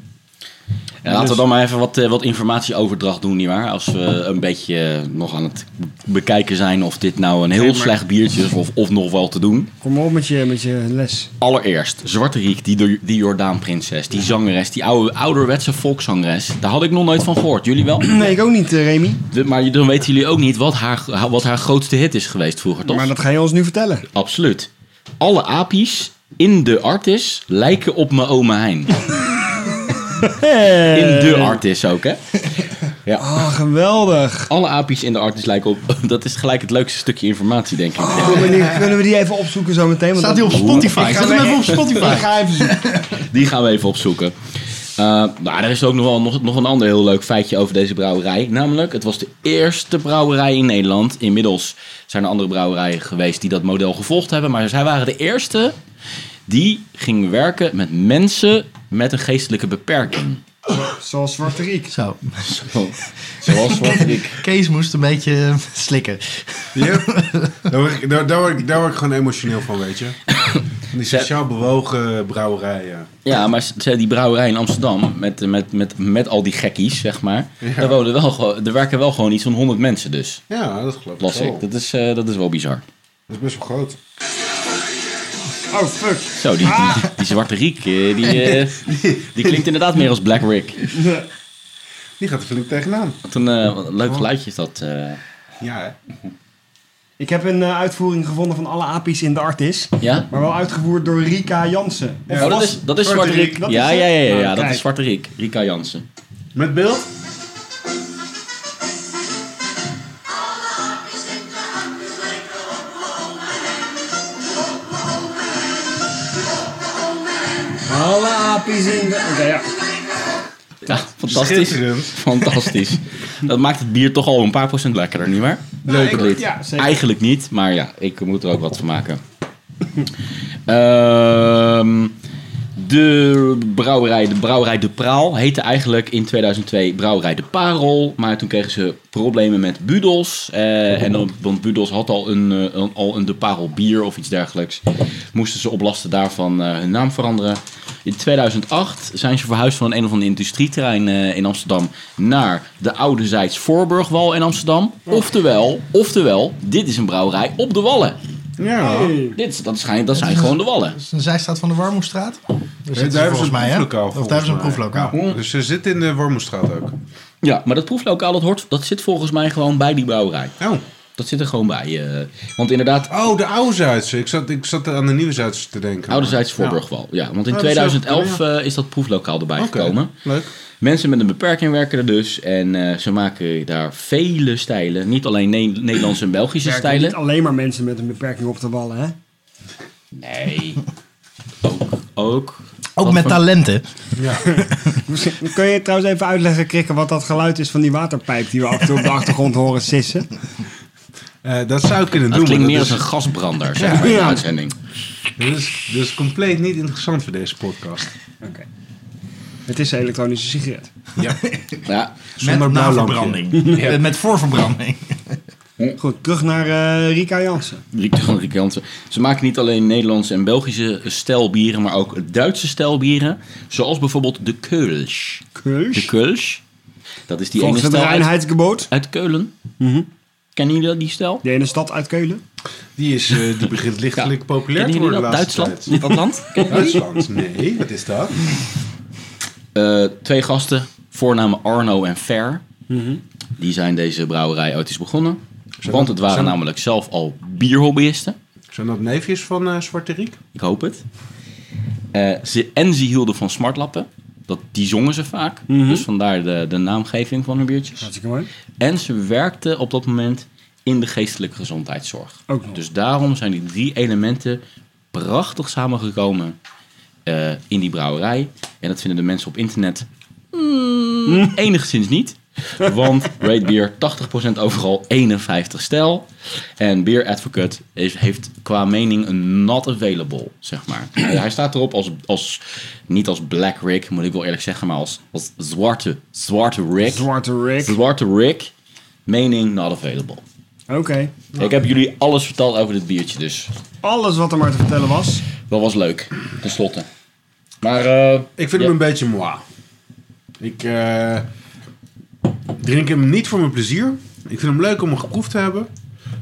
Speaker 1: Ja, laten we dan maar even wat, eh, wat informatieoverdracht doen, nietwaar? Als we een beetje eh, nog aan het bekijken zijn of dit nou een heel slecht biertje is of, of nog wel te doen.
Speaker 5: Kom maar op met je, met je les.
Speaker 1: Allereerst, Zwarte Riek, die, door- die Jordaanprinses, die zangeres, die oude, ouderwetse volkszangeres. Daar had ik nog nooit van gehoord. Jullie wel?
Speaker 5: Nee, ik ook niet, eh, Remy.
Speaker 1: De- maar dan weten jullie ook niet wat haar, wat haar grootste hit is geweest vroeger, toch?
Speaker 5: Maar dat ga je ons nu vertellen.
Speaker 1: Absoluut. Alle apies in de artis lijken op mijn oma Hein. In de artis ook, hè? Ja.
Speaker 5: Ah, geweldig.
Speaker 1: Alle apies in de artis lijken op... *laughs* Dat is gelijk het leukste stukje informatie, denk ik.
Speaker 5: Oh, meneer, kunnen we die even opzoeken zo meteen? Want
Speaker 2: Staat hij
Speaker 5: dat-
Speaker 2: op Spotify?
Speaker 5: Ik
Speaker 2: Zet hem
Speaker 5: ga-
Speaker 2: even op Spotify.
Speaker 5: Ik ga even zoeken.
Speaker 1: Die gaan we even opzoeken. Eh maar er is ook nog, wel, nog, nog een ander heel leuk feitje over deze brouwerij. Namelijk, het was de eerste brouwerij in Nederland. Inmiddels zijn er andere brouwerijen geweest die dat model gevolgd hebben. Maar zij waren de eerste die ging werken met mensen met een geestelijke beperking.
Speaker 5: Zoals Zwarte Riek.
Speaker 2: Zo.
Speaker 5: *laughs*
Speaker 1: Zoals wat ik.
Speaker 2: Kees moest een beetje eh, slikken.
Speaker 3: Ja. *laughs* Daar, word ik, daar, daar, word ik, daar word ik gewoon emotioneel van, weet je. Die sociaal bewogen brouwerij, ja.
Speaker 1: Ja, maar ze- die brouwerij in Amsterdam, met, met, met, met al die gekkies, zeg maar. Daar wonen wel, gewoon- er werken wel gewoon iets van 100 mensen dus,
Speaker 3: Ja, dat geloof ik
Speaker 1: las
Speaker 3: wel.
Speaker 1: ik. Dat is, eh, dat is wel bizar.
Speaker 3: Dat is best wel groot.
Speaker 5: Oh, fuck.
Speaker 1: Zo, die,
Speaker 5: Ah.
Speaker 1: die, die zwarte Riek, eh, die,
Speaker 5: *laughs*
Speaker 1: eh, die klinkt inderdaad meer als Black Rick.
Speaker 3: Die gaat er flink tegenaan.
Speaker 1: Wat een eh, wat een leuk
Speaker 5: Oh.
Speaker 1: geluidje is dat. eh.
Speaker 3: Ja, hè?
Speaker 5: Ik heb een eh, uitvoering gevonden van alle apies in de Artis.
Speaker 1: Ja?
Speaker 5: Maar wel uitgevoerd door Rika Jansen. Of
Speaker 1: Oh, dat
Speaker 5: was-
Speaker 1: is, dat is
Speaker 5: Zwarte
Speaker 1: Zwarte
Speaker 5: Riek,
Speaker 1: Riek.
Speaker 5: dat
Speaker 1: Ja,
Speaker 5: is
Speaker 1: ja,
Speaker 5: het?
Speaker 1: ja, ja,
Speaker 5: Nou,
Speaker 1: ja, dat
Speaker 5: kijk.
Speaker 1: is Zwarte Riek. Rika Jansen.
Speaker 3: Met beeld?
Speaker 5: Alle apies in de... Oké, ja.
Speaker 1: Ja, fantastisch. *laughs*
Speaker 3: Schitterend.
Speaker 1: Fantastisch. Dat maakt het bier toch al een paar procent lekkerder, nietwaar?
Speaker 5: ik-
Speaker 1: Leuke lid.
Speaker 5: ja, zeker.
Speaker 1: Eigenlijk niet, maar ja, ik moet er ook wat van maken. Ehm, de brouwerij, de brouwerij De Praal heette eigenlijk in 2002 Brouwerij De Parel. Maar toen kregen ze problemen met Budels. eh, en dan, want Budels had al een, eh, een- al een De Parel bier of iets dergelijks. Moesten ze op lasten daarvan eh, hun naam veranderen. In 2008 zijn ze verhuisd van een of ander industrieterrein eh, in Amsterdam naar de oude Zijds Voorburgwal in Amsterdam. Oftewel, oftewel, dit is een brouwerij op de Wallen.
Speaker 3: Ja.
Speaker 1: Dit, is- dat, schijnt, dat zijn gewoon de Wallen.
Speaker 2: Dus een zijstraat van de Warmoestraat. Daar zitten ze
Speaker 3: hebben ze
Speaker 2: volgens
Speaker 3: een
Speaker 2: mij, hè?
Speaker 3: proeflokaal,
Speaker 2: Of daar hebben ze een
Speaker 3: volgens mij.
Speaker 2: proeflokaal.
Speaker 3: Ja. Dus ze zitten in de Wormelstraat ook.
Speaker 1: Ja, maar dat proeflokaal, dat, hoort, dat zit volgens mij gewoon bij die brouwerij.
Speaker 3: Oh.
Speaker 1: Dat zit er gewoon bij. eh. want inderdaad,
Speaker 3: Oh, de oude Zuidse. Ik zat, ik zat aan de nieuwe Zuidse te denken.
Speaker 1: ouderzijds Voorburgwal. Ja, want in
Speaker 3: Oh, dat is ook-
Speaker 1: 2011 eh, is dat proeflokaal erbij
Speaker 3: Oké,
Speaker 1: gekomen.
Speaker 3: leuk.
Speaker 1: Mensen met een beperking werken er dus. En eh, ze maken daar vele stijlen. Niet alleen Ne- Nederlandse en Belgische
Speaker 5: Werken
Speaker 1: stijlen.
Speaker 5: Niet alleen maar mensen met een beperking op de wallen, hè?
Speaker 1: Nee. Ook. Ook,
Speaker 2: Ook met talenten.
Speaker 5: Misschien- Kun je trouwens even uitleggen, Krikke, wat dat geluid is van die waterpijp die we af en toe op de achtergrond horen sissen?
Speaker 3: Eh, dat zou ik kunnen
Speaker 1: Dat
Speaker 3: doen.
Speaker 1: klinkt
Speaker 3: maar
Speaker 1: meer
Speaker 3: dat
Speaker 1: als een gasbrander, zeg maar, in de
Speaker 5: Ja.
Speaker 1: uitzending.
Speaker 3: is, dat is, dat is compleet niet interessant voor deze podcast.
Speaker 5: Het is een elektronische sigaret.
Speaker 3: Ja.
Speaker 1: Ja,
Speaker 3: Zonder
Speaker 2: met
Speaker 3: blauwlampje. *laughs*
Speaker 2: naverbranding. Eh, Met voorverbranding.
Speaker 5: Goed, terug naar eh, Rika Jansen.
Speaker 1: Riek van Riek Jansen. Ze maken niet alleen Nederlandse en Belgische stijlbieren, maar ook Duitse stijlbieren. Zoals bijvoorbeeld de Kölsch. De
Speaker 5: Keus.
Speaker 1: Kölsch. Dat is die
Speaker 5: Volgens
Speaker 1: ene
Speaker 5: het
Speaker 1: stijl uit,
Speaker 5: reinheidsgebot.
Speaker 1: uit Keulen.
Speaker 3: Mhm.
Speaker 1: Kennen jullie dat, die stijl?
Speaker 5: De ene stad uit Keulen.
Speaker 3: Die, is, eh, die begint lichtelijk populair
Speaker 1: Kennen
Speaker 3: te
Speaker 1: jullie
Speaker 3: worden de
Speaker 1: dat?
Speaker 3: laatste
Speaker 1: Duitsland?
Speaker 3: tijd.
Speaker 1: Dat land? Kennen jullie?
Speaker 3: Duitsland? Nee, wat is dat?
Speaker 1: *laughs* Eh, twee gasten, voornamen Arno en Fer.
Speaker 3: Mhm.
Speaker 1: Die zijn deze brouwerij ooit eens begonnen. Want het waren
Speaker 3: zijn-
Speaker 1: namelijk zelf al bierhobbyisten.
Speaker 3: Zijn dat neefjes van eh Zwarte Riek?
Speaker 1: Ik hoop het. Eh, ze, en ze hielden van smartlappen. Dat, die zongen ze vaak. Dus vandaar de, de naamgeving van hun biertjes.
Speaker 5: Hartstikke mooi.
Speaker 1: En ze werkten op dat moment in de geestelijke gezondheidszorg.
Speaker 5: Ook nog.
Speaker 1: Dus daarom zijn die drie elementen prachtig samengekomen eh, in die brouwerij. En dat vinden de mensen op internet
Speaker 5: Hmm.
Speaker 1: mm, *laughs* enigszins niet. Want Rate Beer 80% overal 51 stijl. En Beer Advocate is, heeft qua mening een not available, zeg maar. *clears throat* Hij hij staat erop als, als, niet als Black Rick, moet ik wel eerlijk zeggen, maar als, als zwarte, zwarte Rick.
Speaker 5: Zwarte Rick.
Speaker 1: Zwarte Rick, meaning not available.
Speaker 5: Oké.
Speaker 1: Ik heb jullie alles verteld over dit biertje dus.
Speaker 5: Alles wat er maar te vertellen was.
Speaker 1: Dat was leuk, tenslotte. Maar eh,
Speaker 3: Ik vind
Speaker 1: Ja.
Speaker 3: hem een beetje moi. Ik eh, drink hem niet voor mijn plezier. Ik vind hem leuk om hem geproefd te hebben.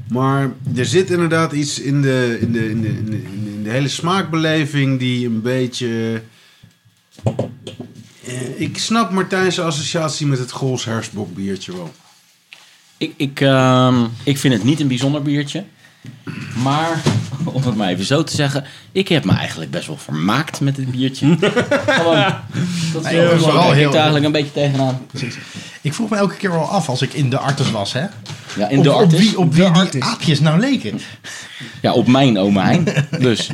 Speaker 3: Maar er zit inderdaad iets in de, in de, in de, in de, in de- in de hele smaakbeleving die een beetje... Eh, ik snap Martijn's associatie met het Gols Hersbok biertje wel.
Speaker 1: ik, ik, ehm, ik vind het niet een bijzonder biertje. Maar, *laughs* om het maar even zo te zeggen, ik heb me eigenlijk best wel vermaakt met dit *laughs* biertje. Gewoon, dat is
Speaker 2: Nee, dat is vooral
Speaker 1: heel ik
Speaker 2: heel-
Speaker 1: eigenlijk een beetje tegenaan.
Speaker 2: Ik vroeg me elke keer wel af als ik in de artes was, hè?
Speaker 1: Ja, in
Speaker 2: op,
Speaker 1: de
Speaker 2: op
Speaker 1: artis.
Speaker 2: wie, op wie die
Speaker 5: Artis.
Speaker 2: aapjes nou leken.
Speaker 1: Ja, op mijn oma
Speaker 2: *laughs*
Speaker 1: Hein. Dus,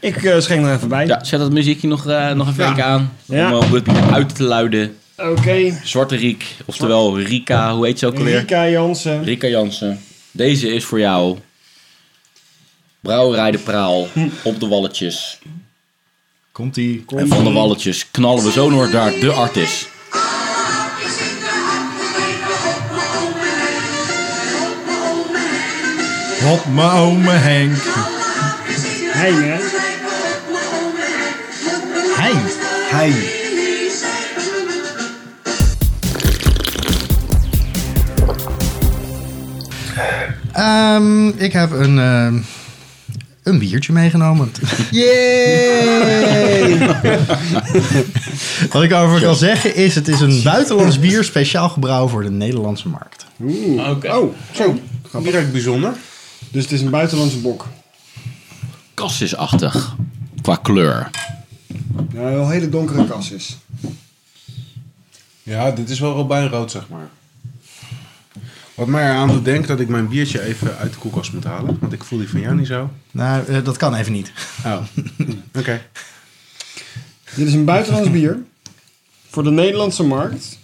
Speaker 5: Ik eh, schenk er even bij.
Speaker 1: ja, zet dat muziekje nog, eh, nog even
Speaker 3: Ja.
Speaker 1: lekker aan.
Speaker 5: Ja.
Speaker 1: Om eh, om het bier uit te luiden.
Speaker 5: Oké.
Speaker 1: Zwarte Riek, oftewel Rika, hoe heet ze ook alweer?
Speaker 5: Rika Jansen.
Speaker 1: Rika Jansen, deze is voor jou. Brouwerij de Praal, op de walletjes.
Speaker 2: Komt die?
Speaker 1: En van de walletjes knallen we zo nog naar de artis.
Speaker 2: Wat mijn ome Henk.
Speaker 5: Hey, hè?
Speaker 2: Hein. Hein. Ehm, ik heb een, ehm, een biertje meegenomen. *laughs* Wat ik over kan zeggen is, het is een buitenlands bier speciaal gebrouwen voor de Nederlandse markt.
Speaker 5: Oh, zo.
Speaker 3: Die ruikt bijzonder.
Speaker 5: Dus het is een buitenlandse bok.
Speaker 1: Kassisachtig, qua kleur.
Speaker 5: Ja, Nou, wel hele donkere kas is.
Speaker 3: Ja, dit is wel robijnrood, zeg maar. Wat mij eraan doet denken dat ik mijn biertje even uit de koelkast moet halen. Want ik voel die van jou niet zo.
Speaker 2: Nou, eh, dat kan even niet.
Speaker 3: Oh, oké.
Speaker 5: Dit is een *laughs* buitenlands bier. Voor de Nederlandse markt.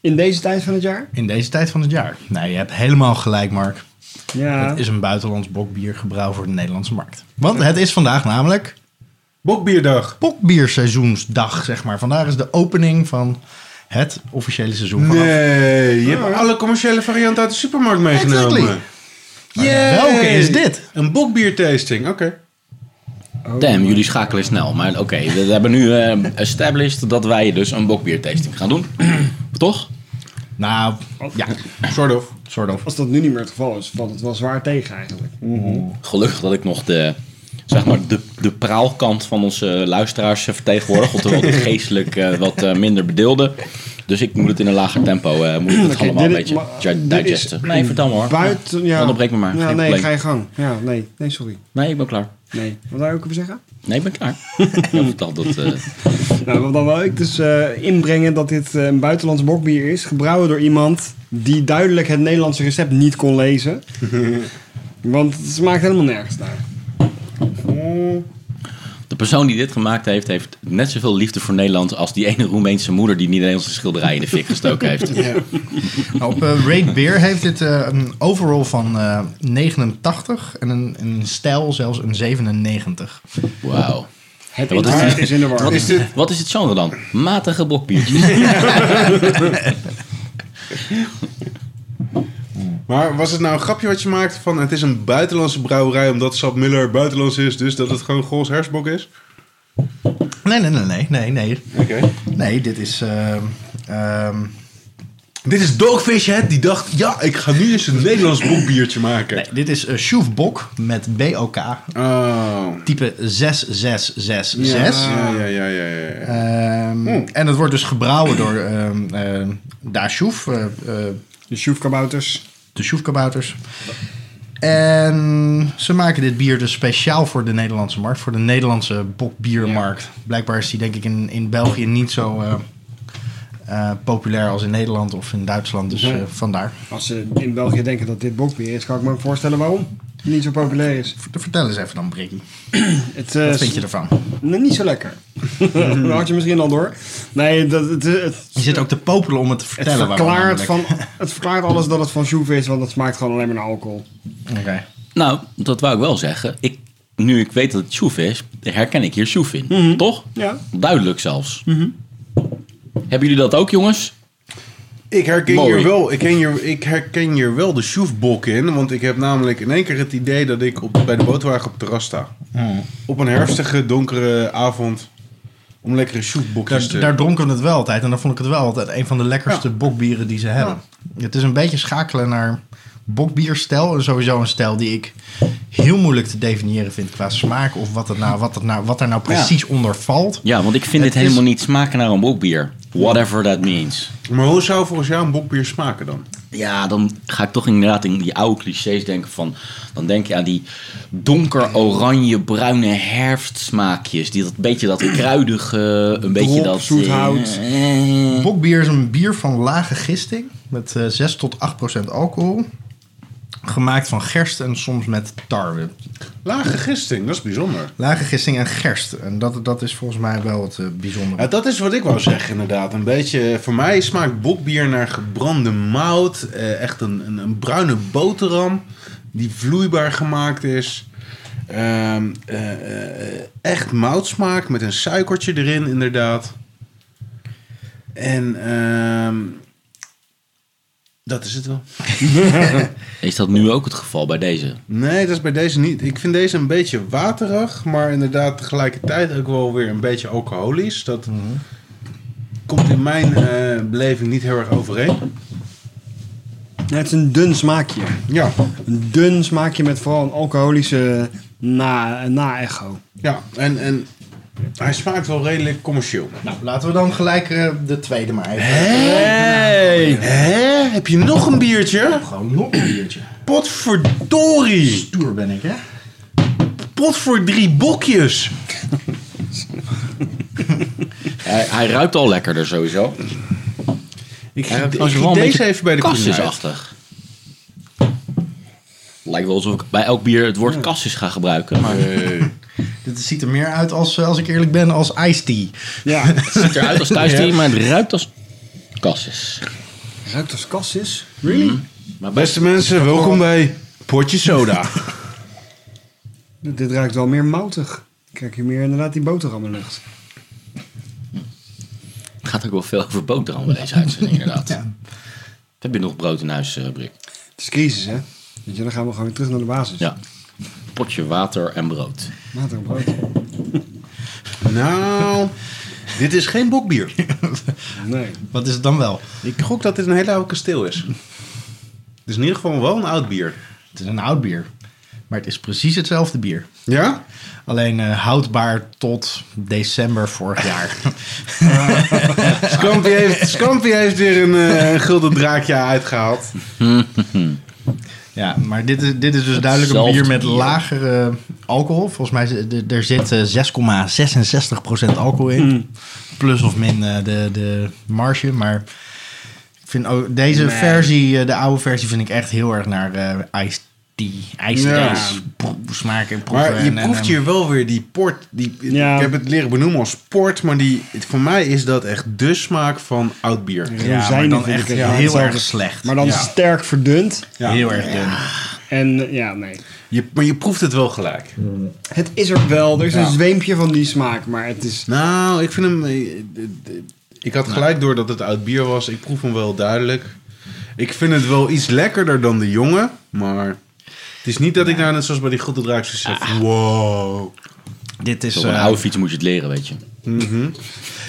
Speaker 5: In deze tijd van het jaar.
Speaker 2: *laughs* In deze tijd van het jaar. Nee, je hebt helemaal gelijk, Mark.
Speaker 5: Ja.
Speaker 2: Het is een buitenlands bokbier gebrouwen voor de Nederlandse markt. Want het is vandaag namelijk
Speaker 3: Bokbierdag.
Speaker 2: bokbierseizoensdag, zeg maar. Vandaag is de opening van het officiële seizoen van af-
Speaker 3: Nee, je hebt alle commerciële varianten uit de supermarkt meegenomen.
Speaker 2: Oh, Exactly. Maar
Speaker 3: Yay!
Speaker 2: Welke is dit?
Speaker 3: Een bokbiertasting, oké.
Speaker 1: Damn, jullie schakelen snel. Maar oké, we we hebben nu eh, established dat wij dus een bokbiertasting gaan doen. *clears throat* Toch?
Speaker 2: Nou,
Speaker 3: Oh.
Speaker 2: ja,
Speaker 3: Sort of.
Speaker 2: sort of.
Speaker 5: Als dat nu niet meer het geval is, valt het wel zwaar tegen eigenlijk.
Speaker 1: Gelukkig dat ik nog de, zeg maar, de, de praalkant van onze luisteraars eh, vertegenwoordig. Oftewel
Speaker 5: *laughs*
Speaker 1: de geestelijk eh, wat eh, minder bedeelde. Dus ik moet het in een lager tempo, eh, moet ik het
Speaker 5: Oké,
Speaker 1: allemaal een
Speaker 5: dit
Speaker 1: beetje
Speaker 5: ma-
Speaker 1: di-
Speaker 5: dit
Speaker 1: digesten.
Speaker 5: is
Speaker 1: Nee, vertel maar.
Speaker 5: Buiten, ja.
Speaker 1: Onderbreek me maar,
Speaker 5: Ja,
Speaker 1: geen
Speaker 5: nee,
Speaker 1: probleem.
Speaker 5: ga je gang. Ja, nee. Nee, sorry.
Speaker 1: Nee, ik ben klaar.
Speaker 5: Nee. Wat wou ik over zeggen?
Speaker 1: Nee, ik ben klaar.
Speaker 5: *laughs*
Speaker 1: ik vertel dat... eh,
Speaker 5: Nou, wat dan wil ik dus eh, inbrengen dat dit eh, een buitenlands bokbier is. Gebrouwen door iemand die duidelijk het Nederlandse recept niet kon *laughs* lezen. Want het smaakt helemaal nergens naar. Mm.
Speaker 1: De persoon die dit gemaakt heeft, heeft net zoveel liefde voor Nederland als die ene Roemeense moeder die niet eens een schilderij in de fik gestoken
Speaker 5: *laughs*
Speaker 1: heeft.
Speaker 2: Nou, op eh, Raid Beer heeft dit eh, een overall van eh, 89 en een, een stijl zelfs een 97.
Speaker 1: Wauw.
Speaker 5: Het
Speaker 1: Ja, wat is
Speaker 5: internet
Speaker 1: dit?
Speaker 5: is in de war.
Speaker 1: Is dit- Wat is het genre dan? Matige bokbiertjes.
Speaker 3: Maar was het nou een grapje wat je maakte van het is een buitenlandse brouwerij omdat Sap Miller buitenlands is, dus dat het gewoon Gols Hersbok is?
Speaker 2: Nee, nee, nee, nee, nee, nee.
Speaker 3: Oké.
Speaker 2: Nee, dit is... ehm, ehm,
Speaker 3: Dit is Dogfish Head die dacht, ja, ik ga nu eens een Nederlands bokbiertje maken.
Speaker 2: nee, dit is eh, Sjoefbok met BOK,
Speaker 3: Oh.
Speaker 2: type 6666.
Speaker 3: Ja, ja, ja, ja. ja, ja.
Speaker 2: Ehm, En het wordt dus gebrouwen door ehm ehm, Da Sjoef, eh, eh,
Speaker 5: De sjoefkabouters.
Speaker 2: de Sjoefkabouters. En ze maken dit bier dus speciaal voor de Nederlandse markt, voor de Nederlandse bokbiermarkt. Blijkbaar is die denk ik in, in België niet zo eh, eh, populair als in Nederland of in Duitsland, dus
Speaker 5: Nee.
Speaker 2: eh, vandaar.
Speaker 5: Als ze in België denken dat dit bokbier is, kan ik me voorstellen waarom het niet zo populair is.
Speaker 2: Ver- Vertel eens even dan, Brikkie.
Speaker 5: Het, eh,
Speaker 2: Wat vind je ervan?
Speaker 5: Nee, niet zo lekker. *laughs* dat had je misschien al door. Nee, dat, het, het,
Speaker 2: Je zit ook te popelen om het te
Speaker 5: het,
Speaker 2: vertellen. waarom
Speaker 5: verklaart van,
Speaker 2: namelijk.
Speaker 5: het verklaart alles dat het van Sjoef is, want het smaakt gewoon alleen maar naar alcohol.
Speaker 2: Oké.
Speaker 1: nou, dat wou ik wel zeggen. Ik, nu ik weet dat het Sjoef is, herken ik hier Sjoef in. Toch?
Speaker 5: Ja.
Speaker 1: Duidelijk zelfs. Hebben jullie dat ook, jongens?
Speaker 3: Ik herken,
Speaker 1: Mooi.
Speaker 3: hier wel, ik, ken hier, ik herken hier wel de sjoefbok in. Want ik heb namelijk in één keer het idee dat ik op, bij de bootwagen op het terras sta. Op een herfstige, donkere avond. Om lekkere sjoefbokjes
Speaker 2: Daar,
Speaker 3: te...
Speaker 2: daar dronken we het wel altijd. En dan vond ik het wel altijd een van de lekkerste bokbieren die ze hebben. Het is een beetje schakelen naar bokbierstijl. En Sowieso een stijl die ik heel moeilijk te definiëren vind qua smaak. Of wat, het nou, wat, het nou, wat er nou precies onder valt.
Speaker 1: Ja, want ik vind
Speaker 2: Het
Speaker 1: dit
Speaker 2: is-
Speaker 1: helemaal niet smaken naar een bokbier. Whatever that means.
Speaker 3: Maar hoe zou volgens jou een bokbier smaken dan?
Speaker 1: Ja, dan ga ik toch inderdaad in die oude clichés denken van... Dan denk je aan die donker oranje bruine herfstsmaakjes. Die dat beetje dat kruidige, een beetje
Speaker 2: Drop,
Speaker 1: dat...
Speaker 2: zoet hout.
Speaker 1: eh, eh.
Speaker 2: Bokbier is een bier van lage gisting. Met eh, 6 tot 8 procent alcohol. Gemaakt van gerst en soms met tarwe.
Speaker 3: Lage gisting, dat is bijzonder.
Speaker 2: Lage gisting en gerst. En dat, dat is volgens mij wel het eh, bijzondere.
Speaker 3: Ja, dat is wat ik wou zeggen inderdaad. Een beetje, voor mij smaakt bokbier naar gebrande mout. eh, echt een, een, een bruine boterham die vloeibaar gemaakt is. Ehm, eh, eh, echt moutsmaak met een suikertje erin inderdaad. En ehm, dat is het wel.
Speaker 1: Is dat nu ook het geval bij deze?
Speaker 3: Nee, dat is bij deze niet. Ik vind deze een beetje waterig, maar inderdaad tegelijkertijd ook wel weer een beetje alcoholisch. Dat komt in mijn eh, beleving niet heel erg overeen.
Speaker 5: Nee, het is een dun smaakje.
Speaker 3: Ja,
Speaker 5: Een dun smaakje met vooral een alcoholische na- na-echo.
Speaker 3: ja. En, en hij smaakt wel redelijk commercieel.
Speaker 2: Nou, laten we dan gelijk eh, de tweede maar even.
Speaker 5: hey!
Speaker 3: Hé, heb je nog een biertje?
Speaker 2: Gewoon nog een biertje.
Speaker 3: Potverdorie!
Speaker 2: Stoer ben ik, hè?
Speaker 3: Pot voor drie bokjes!
Speaker 1: Hij, hij ruikt al lekkerder sowieso.
Speaker 3: Ik,
Speaker 1: Hij ruikt
Speaker 3: ik
Speaker 1: als je wel
Speaker 3: giet
Speaker 1: een
Speaker 3: deze
Speaker 1: beetje
Speaker 3: even bij de koelkast.
Speaker 1: kassisachtig. Lijkt wel alsof ik bij elk bier het woord kassis ga gebruiken. Maar het
Speaker 3: eh,
Speaker 2: Dit ziet er meer uit als, eh, als ik eerlijk ben, als iced tea.
Speaker 5: *laughs* Ja,
Speaker 1: ziet eruit als
Speaker 3: *laughs*
Speaker 1: thuis maar het ruikt als kassis.
Speaker 5: ruikt als kassis. Really?
Speaker 1: Maar best
Speaker 3: Beste mensen, welkom bij Potje Soda.
Speaker 5: Dit ruikt wel meer moutig. Dan krijg je meer inderdaad die boterhammenlucht.
Speaker 1: Het gaat ook wel veel over boterham bij deze uitzending, inderdaad.
Speaker 2: Ja.
Speaker 1: Heb je nog brood in huis, eh, Brik?
Speaker 5: Het is crisis, hè? Weet je, dan gaan we gewoon weer terug naar de basis.
Speaker 1: Ja. Potje water en brood.
Speaker 5: Water op brood.
Speaker 3: nou, dit is geen bokbier.
Speaker 5: Nee.
Speaker 2: Wat is het dan wel?
Speaker 3: Ik gok dat dit een hele oude kasteel is. Het is in ieder geval wel een oud bier.
Speaker 2: Het is een oud bier. Maar het is precies hetzelfde bier.
Speaker 3: Ja?
Speaker 2: Alleen eh, houdbaar tot december vorig jaar. *laughs*
Speaker 3: Scampy heeft, Scampy heeft weer een eh, een gulden draakje uitgehaald.
Speaker 2: ja, maar dit is, dit is dus duidelijk een
Speaker 1: Hetzelfde
Speaker 2: bier met
Speaker 1: bier.
Speaker 2: lagere alcohol. Volgens mij zit- d- er zit eh, 6,66% alcohol in.
Speaker 1: Hmm.
Speaker 2: Plus of min eh, de, de marge. Maar ik vind ook deze versie, eh, de oude versie, vind ik echt heel erg naar eh iced tea. Iced
Speaker 3: Ja.
Speaker 2: teas. Proef- smaken. proeven
Speaker 3: Maar je
Speaker 2: en- en-
Speaker 3: proeft hier wel weer die port. Die,
Speaker 5: Ja.
Speaker 3: Ik heb het leren benoemen als port, maar die, het- voor mij is dat echt de smaak van oud bier.
Speaker 2: Ja, maar
Speaker 5: Rozijnen
Speaker 2: dan
Speaker 5: vind ik
Speaker 2: echt
Speaker 5: het
Speaker 2: heel
Speaker 5: hetzelfde.
Speaker 2: erg slecht.
Speaker 5: Maar dan
Speaker 3: Ja.
Speaker 5: sterk verdund.
Speaker 3: Ja.
Speaker 2: Heel erg dun.
Speaker 5: En eh, ja, nee.
Speaker 3: Je, maar je proeft het wel gelijk.
Speaker 5: Het is er wel. Er is
Speaker 3: Ja.
Speaker 5: een zweempje van die smaak, maar het is...
Speaker 3: Nou, ik vind hem... eh, d- d- Ik had gelijk door dat het oud bier was. Ik proef hem wel duidelijk. Ik vind het wel iets lekkerder dan de jonge, maar... Het is niet dat ik nou net zoals bij die grote draakjes zeg... Wow.
Speaker 2: Dit is,
Speaker 1: Op een
Speaker 2: eh,
Speaker 1: oude fiets moet je het leren, weet je.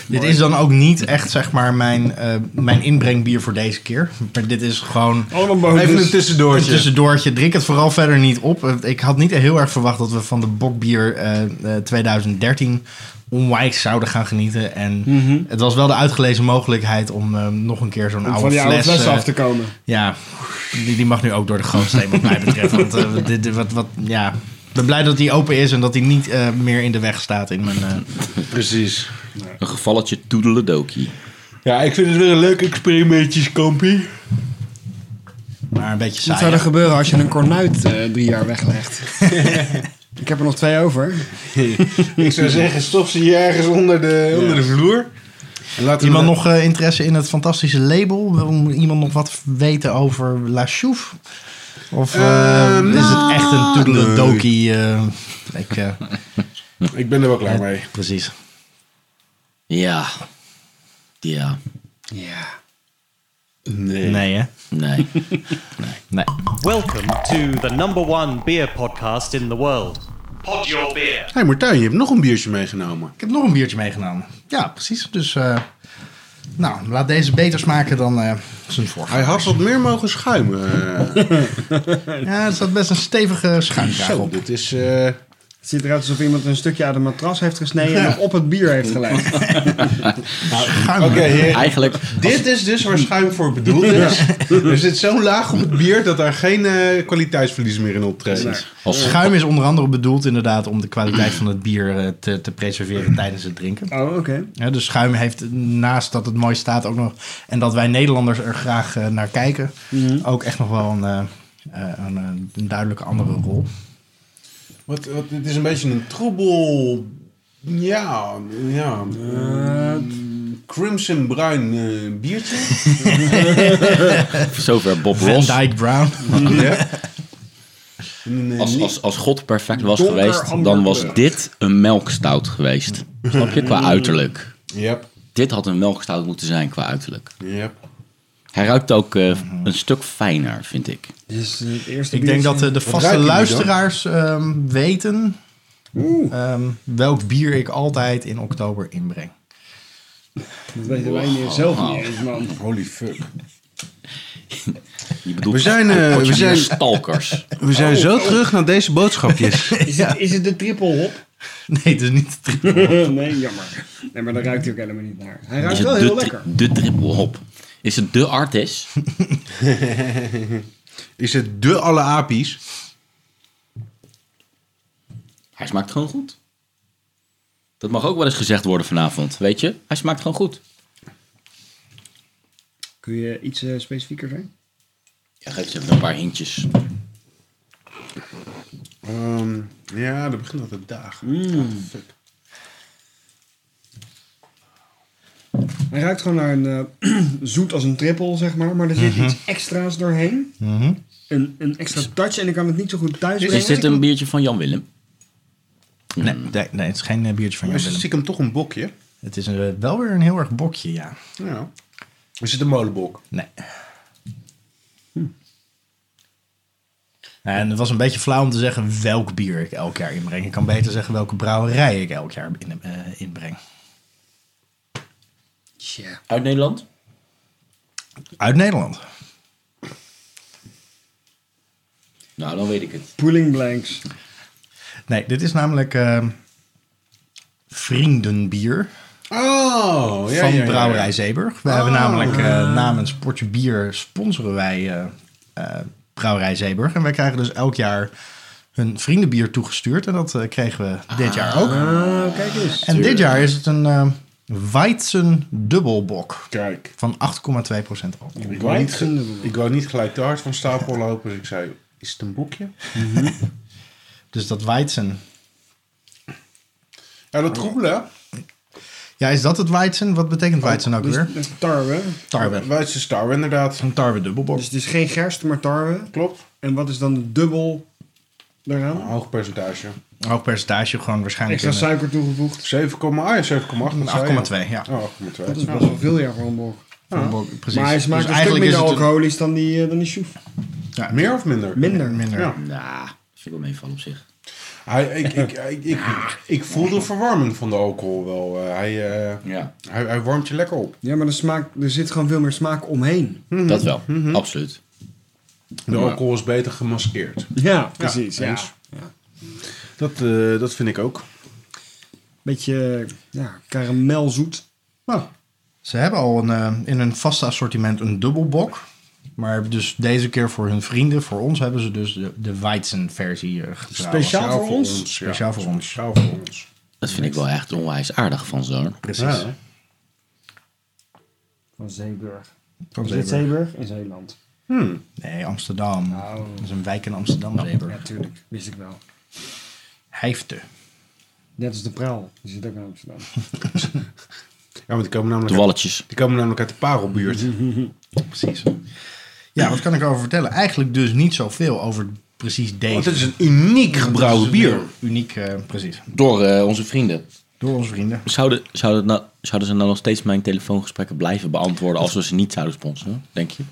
Speaker 2: dit is dan ook niet echt zeg maar mijn, eh, mijn inbrengbier voor deze keer. Maar dit is gewoon
Speaker 5: Allemaal
Speaker 3: Even Oh, dus een
Speaker 2: een
Speaker 3: tussendoortje.
Speaker 2: tussendoortje. Drink het vooral verder niet op. Eh, Ik had niet heel erg verwacht dat we van de Bokbier eh, eh, 2013 onwijs zouden gaan genieten. En het was wel de uitgelezen mogelijkheid om eh, nog een keer zo'n oude
Speaker 5: Mhm. van die oude
Speaker 2: fles...
Speaker 5: flessen
Speaker 2: eh,
Speaker 5: af te komen.
Speaker 2: Ja, die, die mag nu ook door de gootsteen wat mij betreft. Want eh, dit, dit- wat, wat, ja... Ik ben blij dat die open is en dat die niet eh, meer in de weg staat in mijn... eh,
Speaker 3: Precies.
Speaker 1: Een gevalletje toedeledokie.
Speaker 3: Ja, ik vind het weer een leuk experimentje, Scampy.
Speaker 2: maar een beetje
Speaker 5: Wat
Speaker 2: saai.
Speaker 5: zou er gebeuren als je een kornuit eh, drie jaar *laughs* weglegt? ik heb er nog twee over.
Speaker 3: ik *laughs* zou zeggen, stop ze hier ergens onder de, onder de vloer. En laat
Speaker 2: Iemand nog eh, interesse in het fantastische label? Wil iemand nog wat weten over La Chouf? Of eh,
Speaker 3: Ehm,
Speaker 2: is het echt een toedeledokie? eh, ik, eh,
Speaker 3: Ik ben er wel klaar mee.
Speaker 2: *laughs* precies.
Speaker 1: Ja. Ja.
Speaker 5: Ja.
Speaker 2: Nee, hè?
Speaker 3: *laughs*
Speaker 1: Nee.
Speaker 2: Nee.
Speaker 4: Welcome to the number one beer podcast in the world. Pod your beer.
Speaker 3: Hé hey Martijn, je hebt nog een biertje meegenomen.
Speaker 2: Ik heb nog een biertje meegenomen. Ja, precies. Dus eh, nou, laat deze beter smaken dan eh zijn vorige.
Speaker 3: Hij had wat meer mogen schuimen. *laughs* eh.
Speaker 2: Ja, er zat best een stevige schuimkraag
Speaker 3: Zo,
Speaker 2: op.
Speaker 3: dit is... eh,
Speaker 5: Het ziet eruit alsof iemand een stukje uit een matras heeft gesneden en nog op het bier heeft geleid.
Speaker 2: Schuim.
Speaker 3: *laughs* Oké, heer.
Speaker 1: Eigenlijk,
Speaker 3: dit is dus waar schuim voor bedoeld *laughs* is. Er zit zo'n laag op het bier dat daar geen eh, kwaliteitsverlies meer in optreedt.
Speaker 1: als,
Speaker 2: Schuim is onder andere bedoeld inderdaad om de kwaliteit van het bier eh, te, te preserveren tijdens het drinken.
Speaker 5: *laughs* Oh, oké.
Speaker 2: Ja, dus schuim heeft naast dat het mooi staat ook nog... en dat wij Nederlanders er graag eh, naar kijken... ook echt nog wel een, eh, eh, een, eh, een duidelijke andere rol.
Speaker 3: Wat, wat, dit is een beetje een troebel... Ja, ja. mm, crimson bruin eh, biertje.
Speaker 1: zover Bob
Speaker 2: Van
Speaker 1: Ross.
Speaker 2: Dyke
Speaker 3: *laughs*
Speaker 2: Brown.
Speaker 3: *laughs* ja. Nee,
Speaker 1: Als,
Speaker 3: eh, niet-
Speaker 1: als, als God perfect was
Speaker 5: Donker
Speaker 1: geweest,
Speaker 5: amberkleur.
Speaker 1: dan was dit een melkstout geweest. Snap je? Qua uiterlijk.
Speaker 3: Yep,
Speaker 1: Dit had een melkstout moeten zijn qua uiterlijk.
Speaker 3: yep.
Speaker 1: Hij ruikt ook eh, een stuk fijner, vind ik.
Speaker 5: Dit is Dus, het eerste
Speaker 2: Ik denk
Speaker 5: biertje.
Speaker 2: dat eh, de vaste
Speaker 3: ruikt hij nu dan?
Speaker 2: luisteraars ehm, weten... ehm, welk bier ik altijd in oktober inbreng. *laughs*
Speaker 5: Dat weten wij niet, zelf niet
Speaker 2: Oh.
Speaker 5: eens, man.
Speaker 3: Holy fuck.
Speaker 1: Je bedoelt
Speaker 3: We zijn, eh, we
Speaker 1: potje
Speaker 3: zijn-
Speaker 1: stalkers.
Speaker 3: We zijn zo terug naar deze boodschapjes.
Speaker 5: Is, het, is het de triple hop?
Speaker 2: Nee, het is niet de triple.
Speaker 5: Nee, jammer. Nee, maar daar ruikt hij ook helemaal niet naar. Hij
Speaker 1: Is
Speaker 5: ruikt
Speaker 1: het
Speaker 5: wel heel
Speaker 1: de, tri-
Speaker 5: lekker.
Speaker 1: de triple hop? Is het de artis?
Speaker 3: *laughs* Is het de alle apies?
Speaker 1: Hij smaakt gewoon goed. Dat mag ook wel eens gezegd worden vanavond, weet je? Hij smaakt gewoon goed.
Speaker 5: Kun je iets eh, specifieker zijn?
Speaker 1: Ja, geef ze even een paar hintjes.
Speaker 3: Ehm, ja, dat begint altijd dagen. fuck.
Speaker 5: Hij ruikt gewoon naar een eh, *clears throat* zoet als een triple, zeg maar. Maar er zit iets extra's doorheen. Een, een extra touch en ik kan het niet zo goed thuis
Speaker 1: Is dit een biertje van Jan Willem?
Speaker 2: Nee, nee, nee, het is geen eh, biertje van jou,
Speaker 3: Is het
Speaker 2: Willem.
Speaker 3: stiekem toch een bokje?
Speaker 2: Het is eh, wel weer een heel erg bokje, ja.
Speaker 3: Ja. Is het een molenbok?
Speaker 2: Nee. En het was een beetje flauw om te zeggen welk bier ik elk jaar inbreng. Ik kan beter zeggen welke brouwerij ik elk jaar in, eh, inbreng.
Speaker 5: Tja.
Speaker 1: Uit Nederland?
Speaker 2: Uit Nederland.
Speaker 1: Nou, dan weet ik het.
Speaker 5: Pooling blanks.
Speaker 2: Nee, dit is namelijk eh, vriendenbier
Speaker 3: Oh, ja,
Speaker 2: van
Speaker 3: ja, Ah. ja,
Speaker 2: Brouwerij
Speaker 3: ja.
Speaker 2: Zeeburg. We hebben namelijk eh, namens Portje Bier sponsoren wij eh, eh, Brouwerij Zeeburg. En wij krijgen dus elk jaar hun vriendenbier toegestuurd. En dat eh, kregen we dit
Speaker 3: Ah.
Speaker 2: jaar ook.
Speaker 5: Nou, kijk eens.
Speaker 2: En dit jaar is het een eh Weizen dubbelbok
Speaker 3: Kijk,
Speaker 2: van 8,2% alcohol.
Speaker 3: ik wou, niet,
Speaker 5: Weizen dubbel.
Speaker 3: ge- ik wou niet gelijk te hard van stapel lopen. Dus ik zei, is het een bokje?
Speaker 2: Dus dat Weizen.
Speaker 3: Ja, dat troebele.
Speaker 2: Ja, is dat het Weizen? Wat betekent Weizen ook
Speaker 5: Dus
Speaker 2: weer?
Speaker 5: het is tarwe.
Speaker 2: Tarwe.
Speaker 3: Wij zijn star, inderdaad.
Speaker 2: Een tarwe dubbelbok.
Speaker 5: Dus het is geen gerst, maar tarwe.
Speaker 3: Klopt.
Speaker 5: En wat is dan het dubbel daaraan?
Speaker 3: Een hoog percentage. 7,8.
Speaker 2: Een hoog percentage, gewoon waarschijnlijk
Speaker 5: Extra
Speaker 2: in de-
Speaker 5: suiker toegevoegd.
Speaker 3: Ah ja, 7,8. dat zei
Speaker 2: 8,2.
Speaker 3: je.
Speaker 2: Ja,
Speaker 3: Oh, 8,2.
Speaker 5: Dat is best wel veel jaar voor een bok.
Speaker 2: Dubbelbok, precies.
Speaker 5: Maar hij smaakt
Speaker 2: Dus
Speaker 5: een stuk minder
Speaker 2: het een-
Speaker 5: alcoholisch dan die, eh, dan die sjoef.
Speaker 3: Meer of minder?
Speaker 5: Minder.
Speaker 2: minder.
Speaker 3: Ja.
Speaker 1: Nou, dat vind ik wel meevallen op zich.
Speaker 3: Hij, ik, ik, ik, ik, ik voel de verwarming van de alcohol wel. Eh, hij, eh,
Speaker 1: Ja.
Speaker 3: hij, hij warmt je lekker op.
Speaker 5: Ja, maar er, smaakt, er zit gewoon veel meer smaak omheen.
Speaker 2: Mhm.
Speaker 1: Dat wel, absoluut.
Speaker 3: De alcohol is beter gemaskeerd.
Speaker 5: Ja, precies.
Speaker 3: ja.
Speaker 5: Ja.
Speaker 3: eens. Dat, eh, dat vind ik ook.
Speaker 5: Beetje eh, ja, karamelzoet.
Speaker 3: Nou,
Speaker 2: Ze hebben al een, eh, in hun vaste assortiment een dubbelbok. Maar dus deze keer voor hun vrienden, voor ons, hebben ze dus de, de Weizen versie eh, gebrouwen.
Speaker 5: Speciaal voor ons?
Speaker 3: ja.
Speaker 2: Speciaal voor ons.
Speaker 3: Speciaal voor ons.
Speaker 1: Dat vind ik wel echt onwijs aardig van zo'n.
Speaker 2: Precies.
Speaker 3: Ja.
Speaker 5: Van Zeeburg.
Speaker 2: Van
Speaker 5: Is dit
Speaker 2: Zeeburg.
Speaker 5: Zeeburg? In Zeeland.
Speaker 2: Nee, Amsterdam.
Speaker 5: Oh.
Speaker 2: Dat is een wijk in Amsterdam, Zeeburg.
Speaker 5: Ja, tuurlijk. Wist ik wel.
Speaker 2: Hijfte.
Speaker 5: Net als de Praal. Die zit ook in Amsterdam.
Speaker 3: Ja, want die komen namelijk,
Speaker 1: De walletjes.
Speaker 3: die komen namelijk uit de parelbuurt.
Speaker 2: Precies. Ja, wat kan ik over vertellen? Eigenlijk dus niet zoveel over precies deze.
Speaker 3: Want het is een uniek gebrouwen
Speaker 2: Het is een
Speaker 3: bier.
Speaker 2: heel Uniek, eh, precies.
Speaker 1: Door eh, onze vrienden.
Speaker 2: Door onze vrienden.
Speaker 1: Zouden, zouden, nou- zouden ze nou nog steeds mijn telefoongesprekken blijven beantwoorden als we ze niet zouden sponsoren? Denk je?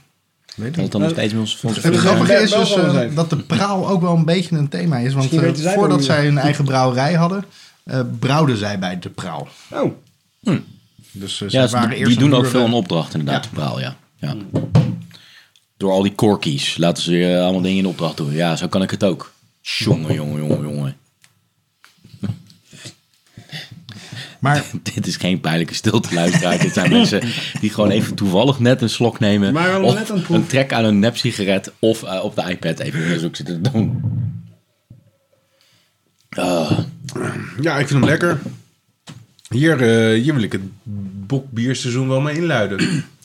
Speaker 2: Weet
Speaker 1: Dat het dan nog steeds met ons
Speaker 2: Eh, Het
Speaker 1: sponsoren?
Speaker 2: grappige
Speaker 5: Ja,
Speaker 2: is
Speaker 5: wel
Speaker 2: dus
Speaker 5: wel
Speaker 2: eh,
Speaker 5: zijn.
Speaker 2: dat de praal ook wel een beetje een thema is. Want
Speaker 5: Misschien
Speaker 2: eh,
Speaker 5: weten zij wel
Speaker 2: voordat
Speaker 5: hoe je-
Speaker 2: zij hun eigen brouwerij hadden, eh, brouwden zij bij de praal.
Speaker 5: Oh,
Speaker 2: Dus eh, zij
Speaker 1: Ja, ze-
Speaker 2: waren
Speaker 1: die,
Speaker 2: eerst
Speaker 1: doen
Speaker 2: een
Speaker 1: ook
Speaker 2: huurder.
Speaker 1: veel een opdracht inderdaad,
Speaker 2: Ja. Mm.
Speaker 1: de praal, ja. ja. Door al die corkies laten ze eh, allemaal dingen in opdracht doen. Ja, zo kan ik het ook.
Speaker 2: *laughs*
Speaker 1: Jongen, jongen, jongen, jongen.
Speaker 2: Maar
Speaker 1: *laughs* Dit is geen pijnlijke stilte, luisteraar. Dit zijn mensen die gewoon even toevallig net een slok nemen.
Speaker 5: Maar wel
Speaker 1: of
Speaker 5: net een
Speaker 1: een,
Speaker 5: proef.
Speaker 1: trek aan een nepsigaret of eh, op de iPad even onderzoek zitten te doen.
Speaker 3: Ja, ik vind hem lekker. Hier, eh, hier wil ik het bokbierseizoen wel mee inluiden.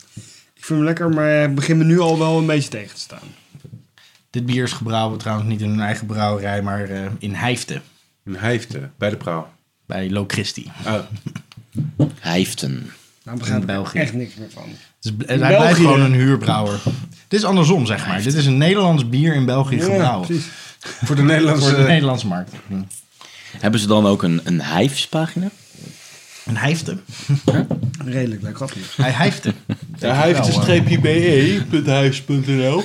Speaker 3: *clears throat*
Speaker 5: ik vind hem lekker, maar ik begin me nu al wel een beetje tegen te staan.
Speaker 2: dit bier is gebrouwen trouwens niet in hun eigen brouwerij, maar eh, in Heiften.
Speaker 3: Een hijfte eh, bij de praal.
Speaker 2: Bij Lo Christi.
Speaker 3: Oh,
Speaker 1: Hijften.
Speaker 5: Nou begrijp
Speaker 2: In
Speaker 5: ik
Speaker 2: België.
Speaker 5: echt niks meer van.
Speaker 2: Dus b- hij blijft
Speaker 5: België.
Speaker 2: gewoon een huurbrouwer. Dit is andersom, zeg maar. Dit is een Nederlands bier in België gebrouwen.
Speaker 5: precies.
Speaker 3: voor de
Speaker 2: Voor de
Speaker 3: Nederlandse...
Speaker 2: Nederlandse markt. Hm.
Speaker 1: Hebben ze dan ook een, een hijfspagina?
Speaker 2: Een hijfte.
Speaker 5: Redelijk lekker. grappig.
Speaker 2: Hij hijfte.
Speaker 3: De
Speaker 2: eh.
Speaker 3: hijfte-be.huis.nl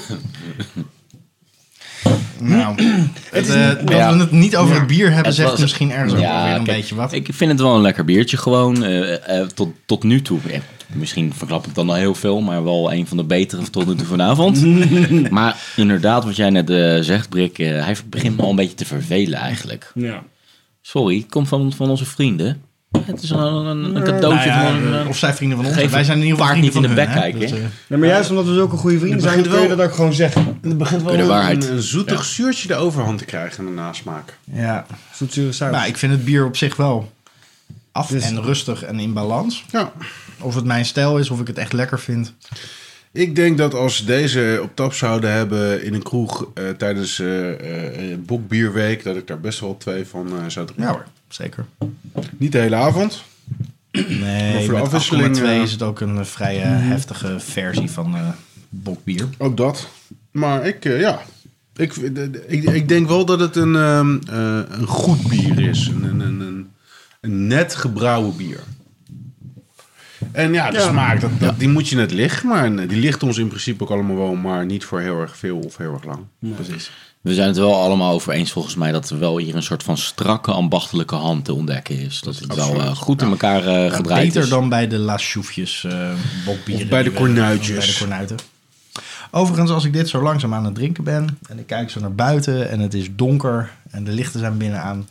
Speaker 2: Nou, het, eh, dat
Speaker 1: Ja.
Speaker 2: we het niet over het bier hebben,
Speaker 1: Het
Speaker 2: zegt
Speaker 1: was-
Speaker 2: misschien ergens ook wel weer een
Speaker 1: kijk,
Speaker 2: beetje wat.
Speaker 1: Ik vind het wel een lekker biertje gewoon. eh, eh, tot, tot nu toe. Eh, misschien verklap ik dan al heel veel, maar wel een van de betere tot nu toe vanavond.
Speaker 2: *laughs*
Speaker 1: maar inderdaad, wat jij net eh, zegt, Brik, eh, hij begint me al een beetje te vervelen eigenlijk.
Speaker 5: Ja.
Speaker 1: Sorry, het komt van, van onze vrienden. Het is een, een, een
Speaker 2: Nou
Speaker 1: cadeautje
Speaker 2: ja,
Speaker 1: van een...
Speaker 2: eh, of zij vrienden van ons.
Speaker 1: geef
Speaker 2: Wij zijn in ieder geval
Speaker 1: paard niet
Speaker 2: vrienden van
Speaker 1: in de
Speaker 2: hun,
Speaker 1: bek
Speaker 2: hè.
Speaker 1: kijken,
Speaker 2: Dat, eh,
Speaker 5: Nou, maar juist omdat we zulke goede vrienden
Speaker 3: Het
Speaker 5: zijn,
Speaker 3: begint
Speaker 5: kun je
Speaker 3: wel-
Speaker 5: dat ook gewoon zeggen.
Speaker 3: Er begint wel
Speaker 1: De waarheid.
Speaker 3: een, een zoetig
Speaker 1: Ja.
Speaker 3: zuurtje de overhand te krijgen in de nasmaak.
Speaker 2: eh, ja.
Speaker 5: Zoetzure saus.
Speaker 2: Maar ik vind het bier op zich wel af
Speaker 5: Dus-
Speaker 2: en rustig en in balans.
Speaker 3: Ja.
Speaker 2: Of het mijn stijl is, of ik het echt lekker vind.
Speaker 3: Ik denk dat als ze deze op tap zouden hebben in een kroeg eh, tijdens eh, eh, Bokbierweek, dat ik daar best wel twee van eh, zou drinken.
Speaker 2: Ja hoor, zeker.
Speaker 3: Niet de hele avond. Maar
Speaker 2: Nee,
Speaker 3: voor de
Speaker 2: met 8,2
Speaker 3: afwisseling, eh, Mhm.
Speaker 2: is het ook een eh, vrij eh, heftige versie van eh, bokbier.
Speaker 3: Ook dat. Maar ik, eh, ja. Ik, eh, ik, ik denk wel dat het een, ehm, eh, een goed bier is. Een, een, een, een, een net gebrouwen bier. En ja, de smaak, dat, dat- die moet je net liggen. Maar eh, die ligt ons in principe ook allemaal wel, maar niet voor heel erg veel of heel erg lang. Precies.
Speaker 1: We zijn het wel allemaal over eens volgens mij dat er wel hier een soort van strakke ambachtelijke hand te ontdekken is. Dat het wel eh, goed in elkaar eh gedraaid
Speaker 2: Beter
Speaker 1: is.
Speaker 2: dan bij de Laschoefjes eh bokbieren.
Speaker 3: Of bij de
Speaker 2: die we- of
Speaker 3: Kornuitjes.
Speaker 2: Bij de kornuiten. Overigens, als ik dit zo langzaam aan het drinken ben en ik kijk zo naar buiten en het is donker en de lichten zijn binnen aan.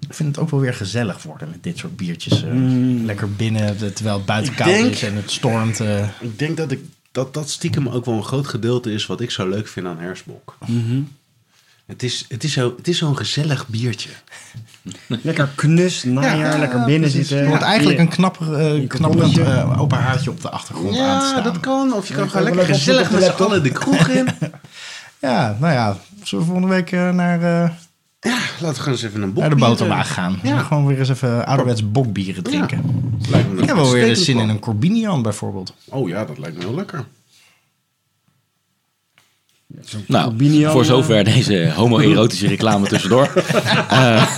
Speaker 2: Ik vind het ook wel weer gezellig worden met dit soort biertjes. eh, Lekker binnen, de- terwijl het buiten
Speaker 3: Mhm. Ik
Speaker 2: koud
Speaker 3: denk-
Speaker 2: is en het stormt. eh.
Speaker 3: Ik denk dat, ik, dat dat stiekem ook wel een groot gedeelte is wat ik zo leuk vind aan Hersbok. Het is, het is zo- het is zo'n gezellig biertje.
Speaker 5: Lekker knus, najaar,
Speaker 3: Ja,
Speaker 5: lekker binnen
Speaker 3: precies.
Speaker 5: zitten.
Speaker 2: Er wordt eigenlijk een knapper, eh, knapperend
Speaker 5: koppeltje.
Speaker 2: eh, open haartje op de achtergrond aan te
Speaker 3: Ja,
Speaker 2: staan.
Speaker 3: dat kan. Of je kan gewoon
Speaker 5: kan
Speaker 3: lekker
Speaker 5: wel
Speaker 3: gezellig
Speaker 5: even op
Speaker 3: met
Speaker 5: de
Speaker 3: z'n
Speaker 5: laptop.
Speaker 3: allen de kroeg in.
Speaker 2: Ja, nou ja, zullen we volgende week eh, naar, eh,
Speaker 3: Laten we gewoon eens even een boek
Speaker 2: naar de boterwagen gaan. Zullen we gewoon weer eens even ouderwets bokbieren drinken. Ik heb wel weer de zin in een Corbinian bijvoorbeeld.
Speaker 3: Oh ja, dat lijkt me heel lekker.
Speaker 1: Nou,
Speaker 5: Albinian,
Speaker 1: voor
Speaker 5: eh,
Speaker 1: zover deze homoerotische reclame tussendoor.
Speaker 3: Ah,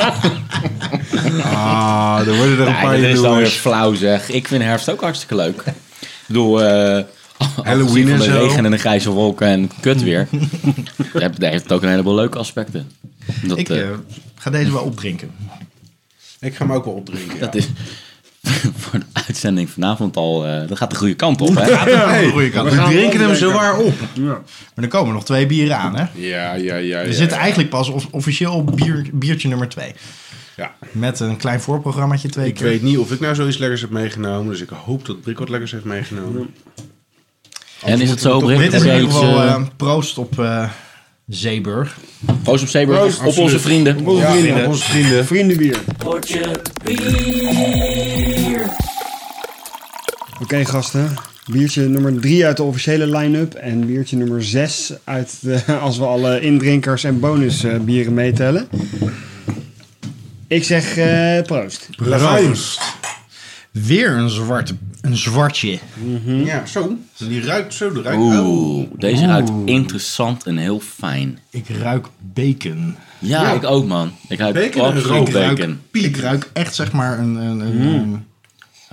Speaker 3: er worden er
Speaker 1: Ja, dat is dan weer flauw zeg. Ik vind herfst ook hartstikke leuk. Ik bedoel, eh
Speaker 3: Halloween
Speaker 1: afgezien van
Speaker 3: en
Speaker 1: de
Speaker 3: zo.
Speaker 1: regen en de grijze wolken en het kut weer. daar heb- daar heeft het ook een heleboel leuke aspecten. Dat,
Speaker 2: Ik
Speaker 1: eh,
Speaker 2: eh, ga deze wel opdrinken.
Speaker 3: Ik ga hem ook wel opdrinken.
Speaker 1: dat is *laughs* voor de uitzending vanavond al... eh, dat gaat de goede kant op, hè?
Speaker 2: Hey,
Speaker 3: we
Speaker 2: goeie kant. Maar
Speaker 3: drinken hem zowaar op.
Speaker 2: er komen nog twee bieren aan, hè?
Speaker 3: Ja, ja, ja.
Speaker 2: We zitten eigenlijk pas of- officieel op bier, biertje nummer twee.
Speaker 3: Ja.
Speaker 2: Met een klein voorprogrammaatje twee
Speaker 3: Ik
Speaker 2: keer.
Speaker 3: weet niet of ik nou zoiets lekkers heb meegenomen. Dus ik hoop dat Brik wat lekkers heeft meegenomen.
Speaker 1: En is het zo,
Speaker 2: Dit
Speaker 1: Britt?
Speaker 2: is
Speaker 1: Heb
Speaker 2: in
Speaker 1: jij
Speaker 2: ieder
Speaker 1: iets...
Speaker 2: geval
Speaker 1: eh,
Speaker 2: eh, proost op eh, Zeeburg.
Speaker 1: Proost op Zeeburg,
Speaker 5: Proost,
Speaker 1: op onze vrienden.
Speaker 5: Ja, vrienden.
Speaker 3: onze vrienden.
Speaker 5: Vriendenbier. Potje bier. Oké gasten, biertje nummer 3 uit de officiële line-up en biertje nummer 6 uit de, *laughs* als we alle indrinkers en bonusbieren bieren meetellen. Ik zeg eh, proost.
Speaker 2: Weer een zwart Een zwartje.
Speaker 3: Hm? Ja, zo. Die ruikt zo, de ruikt Oh.
Speaker 1: Oeh, deze ruikt interessant en heel fijn.
Speaker 2: Ik ruik bacon.
Speaker 1: Ja,
Speaker 3: Ja.
Speaker 1: ik ook, man. Ik ruik
Speaker 3: Bacon en
Speaker 1: absoluut
Speaker 3: rook.
Speaker 1: bacon.
Speaker 2: Ruik, ik ruik echt zeg maar een... een, een, een-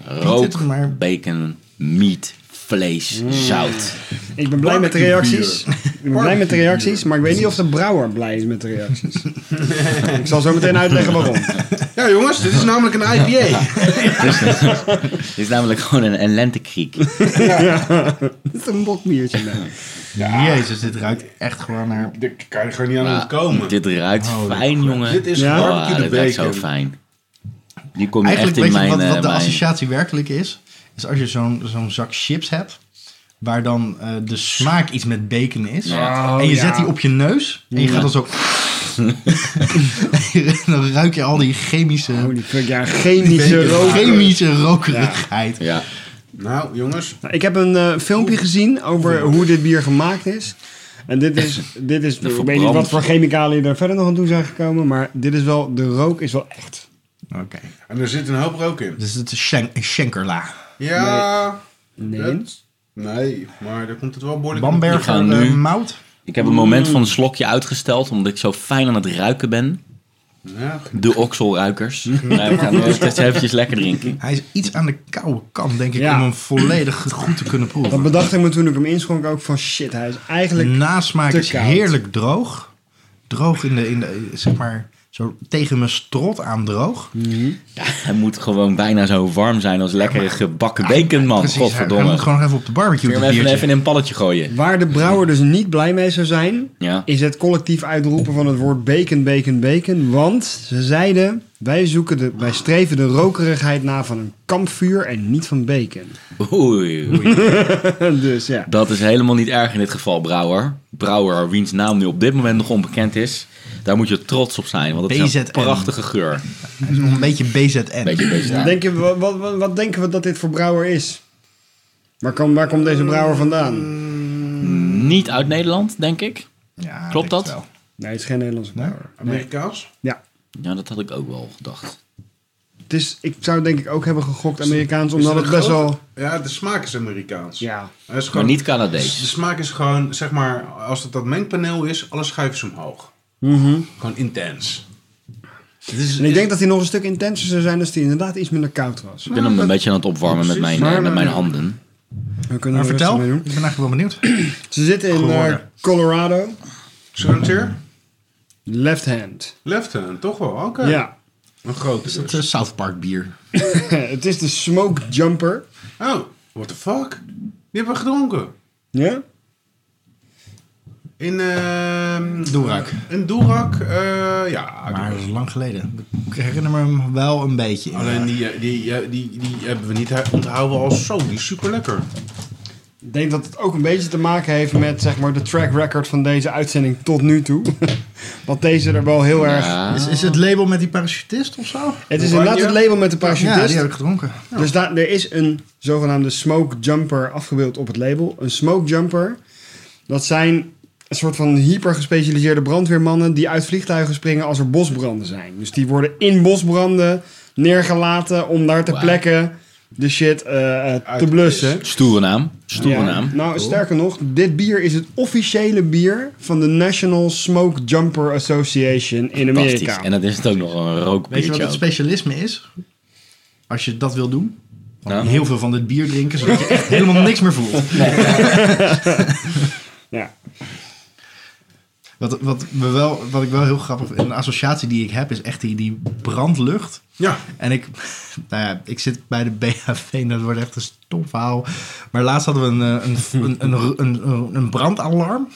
Speaker 1: Rook,
Speaker 2: het maar. Mm.
Speaker 1: bacon, meat, vlees, zout.
Speaker 5: Ik ben blij met de reacties. Ik ben blij met de reacties, maar ik weet niet of de brouwer blij is met de *laughs* reacties. ik zal zo meteen uitleggen *laughs* waarom.
Speaker 3: Ja, jongens, dit is namelijk een IPA. *laughs*
Speaker 1: Dit is namelijk *laughs* gewoon een, een lentekriek.
Speaker 5: Het is een bokbiertje. man.
Speaker 2: Jezus, dit ruikt echt gewoon naar...
Speaker 3: Daar kan je gewoon niet aan ontkomen.
Speaker 1: Dit ruikt
Speaker 2: Oh,
Speaker 1: fijn, jongen.
Speaker 3: Dit is
Speaker 5: Ja?
Speaker 1: Ah,
Speaker 3: barbecue de
Speaker 1: dit ruikt zo
Speaker 3: bacon.
Speaker 1: fijn. Die kom je
Speaker 2: Eigenlijk
Speaker 1: echt
Speaker 2: weet
Speaker 1: in
Speaker 2: je
Speaker 1: mijn...
Speaker 2: wat,
Speaker 1: eh,
Speaker 2: wat de
Speaker 1: mijn-
Speaker 2: associatie werkelijk is? Is als je zo'n zo'n zak chips hebt, waar dan eh, de smaak iets met bacon is.
Speaker 1: Ja.
Speaker 2: en je
Speaker 5: Oh, ja.
Speaker 2: zet die op je neus en je gaat dan zo... dan ruik je al die chemische,
Speaker 5: Holy fuck, ja, chemische rook.
Speaker 2: chemische rokerigheid.
Speaker 1: Ja.
Speaker 3: Nou, jongens.
Speaker 5: Nou, Ik heb een eh, filmpje gezien over hoe dit bier gemaakt is. En dit is, dit is ik weet niet
Speaker 1: verbrand.
Speaker 5: wat voor chemicaliën er verder nog aan toe zijn gekomen, maar dit is wel, de rook is wel echt.
Speaker 2: Oké,
Speaker 3: En er zit een hoop rook in.
Speaker 2: dus het is shen- een schenkerla.
Speaker 3: Ja.
Speaker 5: Nee.
Speaker 3: dat- nee, maar daar komt het wel behoorlijk
Speaker 1: Ik ga
Speaker 2: Bamberger
Speaker 1: nu-
Speaker 2: eh, mout.
Speaker 1: Ik heb een moment van een slokje uitgesteld, omdat ik zo fijn aan het ruiken ben.
Speaker 3: Ja.
Speaker 1: De okselruikers. Ja, ik ga nu echt eventjes lekker drinken.
Speaker 2: Hij is iets aan de koude kant, denk ik,
Speaker 5: Ja.
Speaker 2: om hem volledig goed te kunnen proeven.
Speaker 5: Dat bedacht ik me toen ik hem inschonk ook van shit, hij is
Speaker 2: De
Speaker 5: eigenlijk...
Speaker 2: nasmaak
Speaker 5: te
Speaker 2: is
Speaker 5: koud.
Speaker 2: heerlijk droog. Droog in de, in de, zeg maar, zo tegen mijn strot aan droog.
Speaker 1: Oh, Hij moet gewoon bijna zo warm zijn als lekkere gebakken bacon, man.
Speaker 2: Precies, hij-
Speaker 1: Godverdomme.
Speaker 2: Hij moet
Speaker 1: Kun
Speaker 2: gewoon nog even op de barbecue.
Speaker 1: je hem
Speaker 2: dat
Speaker 1: even,
Speaker 2: biertje.
Speaker 1: even in een palletje gooien?
Speaker 5: Waar de brouwer dus niet blij mee zou zijn,
Speaker 1: Ja.
Speaker 5: is het collectief uitroepen van het woord bacon, bacon, bacon. Want ze zeiden, wij, zoeken de, wij streven de rokerigheid na van een kampvuur en niet van bacon. *laughs*
Speaker 1: Oei, oei.
Speaker 5: dus ja.
Speaker 1: Dat is helemaal niet erg in dit geval, Brouwer. Brouwer, wiens naam nu op dit moment nog onbekend is. Daar moet je trots op zijn, want het is een
Speaker 2: BZN.
Speaker 1: prachtige geur.
Speaker 2: Hij is nog een beetje BZN.
Speaker 1: Beetje, beetje
Speaker 5: Denk je, wat, wat, wat- wat denken we dat dit voor brouwer is? Waar, kom, waar komt deze brouwer vandaan?
Speaker 1: Niet uit Nederland, denk ik.
Speaker 2: Ja,
Speaker 1: Klopt
Speaker 2: denk
Speaker 1: dat?
Speaker 2: het
Speaker 5: Nee, het is geen Nederlandse
Speaker 2: wel.
Speaker 5: brouwer.
Speaker 3: Amerikaans?
Speaker 5: Ja.
Speaker 1: Ja, dat had ik ook wel gedacht.
Speaker 5: Het is, ik zou het denk ik ook hebben gegokt Amerikaans,
Speaker 3: Is
Speaker 5: omdat het
Speaker 3: een
Speaker 5: best
Speaker 3: groot-
Speaker 5: wel...
Speaker 3: Ja, de smaak is Amerikaans.
Speaker 5: Ja.
Speaker 3: Hij is
Speaker 1: Maar
Speaker 3: gewoon,
Speaker 1: niet
Speaker 3: De
Speaker 1: Canadees.
Speaker 3: smaak is gewoon, zeg maar, als het dat mengpaneel is, alle schuifjes omhoog. Gewoon intens. Dit is,
Speaker 5: En ik denk dat hij nog een stuk intenser zou zijn als hij inderdaad iets minder koud was.
Speaker 1: Ik ben hem een beetje aan het opwarmen met mijn, eh,
Speaker 5: Maar,
Speaker 1: met
Speaker 5: eh,
Speaker 1: mijn handen.
Speaker 5: We kunnen
Speaker 2: Maar
Speaker 5: er
Speaker 2: vertel,
Speaker 5: rustig mee
Speaker 2: ik
Speaker 5: doen.
Speaker 2: ben eigenlijk wel benieuwd.
Speaker 5: Ze zitten in eh,
Speaker 2: Geworden.
Speaker 5: Colorado.
Speaker 3: Zo'n tier?
Speaker 5: Left hand.
Speaker 3: Left hand, toch wel? Oké.
Speaker 5: Ja.
Speaker 3: Een
Speaker 5: *laughs*
Speaker 3: grote
Speaker 2: Het
Speaker 3: dus.
Speaker 2: is South Park bier.
Speaker 5: het is de smoke jumper.
Speaker 3: Oh, what the fuck? Die hebben we gedronken.
Speaker 5: Ja?
Speaker 3: In, ehm
Speaker 2: Doerak.
Speaker 3: In Doerak, eh, ja.
Speaker 2: Maar dat
Speaker 3: Doerak.
Speaker 2: is lang geleden. Ik herinner me hem wel een beetje.
Speaker 3: Alleen die, eh, die, eh, die, die, hebben we niet her- onthouden als zo. Die is super lekker.
Speaker 5: Ik denk dat het ook een beetje te maken heeft met zeg maar, de track record van deze uitzending tot nu toe. *laughs* Want deze er wel heel erg...
Speaker 1: Ja.
Speaker 2: Is, is het label met die parachutist of zo?
Speaker 5: Het is
Speaker 3: Oranje?
Speaker 5: inderdaad het label met de
Speaker 2: Ja,
Speaker 5: parachutist.
Speaker 2: die heb ik gedronken.
Speaker 5: Dus daar, er is een zogenaamde smoke jumper afgebeeld op het label. Een smoke jumper, dat zijn een soort van hyper gespecialiseerde brandweermannen die uit vliegtuigen springen als er bosbranden zijn. Dus die worden in bosbranden neergelaten om daar ter
Speaker 1: Wauw.
Speaker 5: plekke de shit eh, eh,
Speaker 3: Uit
Speaker 5: te
Speaker 3: te
Speaker 5: blussen.
Speaker 1: Stoere naam. Stoere
Speaker 5: Ja.
Speaker 1: naam.
Speaker 5: Nou, sterker nog, dit bier is het officiële bier van de National Smoke Jumper Association in
Speaker 1: Fantastisch.
Speaker 5: Amerika.
Speaker 1: En dat is het ook nog een
Speaker 2: Weet je wat
Speaker 1: rookbiertje.
Speaker 2: het
Speaker 1: ook.
Speaker 2: specialisme is? Als je dat wil doen.
Speaker 1: Nou?
Speaker 2: Heel veel van dit bier drinken,
Speaker 1: *laughs*
Speaker 2: zodat je echt helemaal niks meer voelt.
Speaker 5: Ja.
Speaker 2: Wat, wat, we wel, wat ik wel heel grappig vind, een associatie die ik heb, is echt die, die brandlucht.
Speaker 3: Ja.
Speaker 2: En ik, nou ja, ik zit bij de BHV en dat wordt echt een stom verhaal. Maar laatst hadden we een, eh, een, een, een, een, een brandalarm.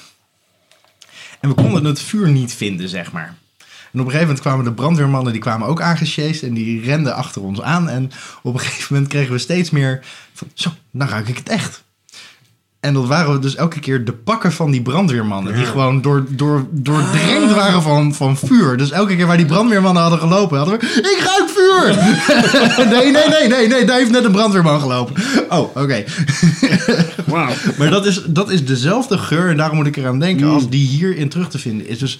Speaker 2: En we konden het vuur niet vinden, zeg maar. En op een gegeven moment kwamen de brandweermannen, die kwamen ook aangesjeest. En die renden achter ons aan. En op een gegeven moment kregen we steeds meer van, zo, nou ruik ik het echt. En dat waren we dus elke keer de pakken van die brandweermannen. Die gewoon door, door, doordrenkt waren van, van vuur. Dus elke keer waar die brandweermannen hadden gelopen, hadden we... Ik ruik vuur! *laughs* nee, nee, nee, nee, nee, daar heeft net een brandweerman gelopen. Oh, oké.
Speaker 5: Wauw.
Speaker 2: Mm. Maar dat is, dat is dezelfde geur en daarom moet ik eraan denken als die hierin terug te vinden is. Dus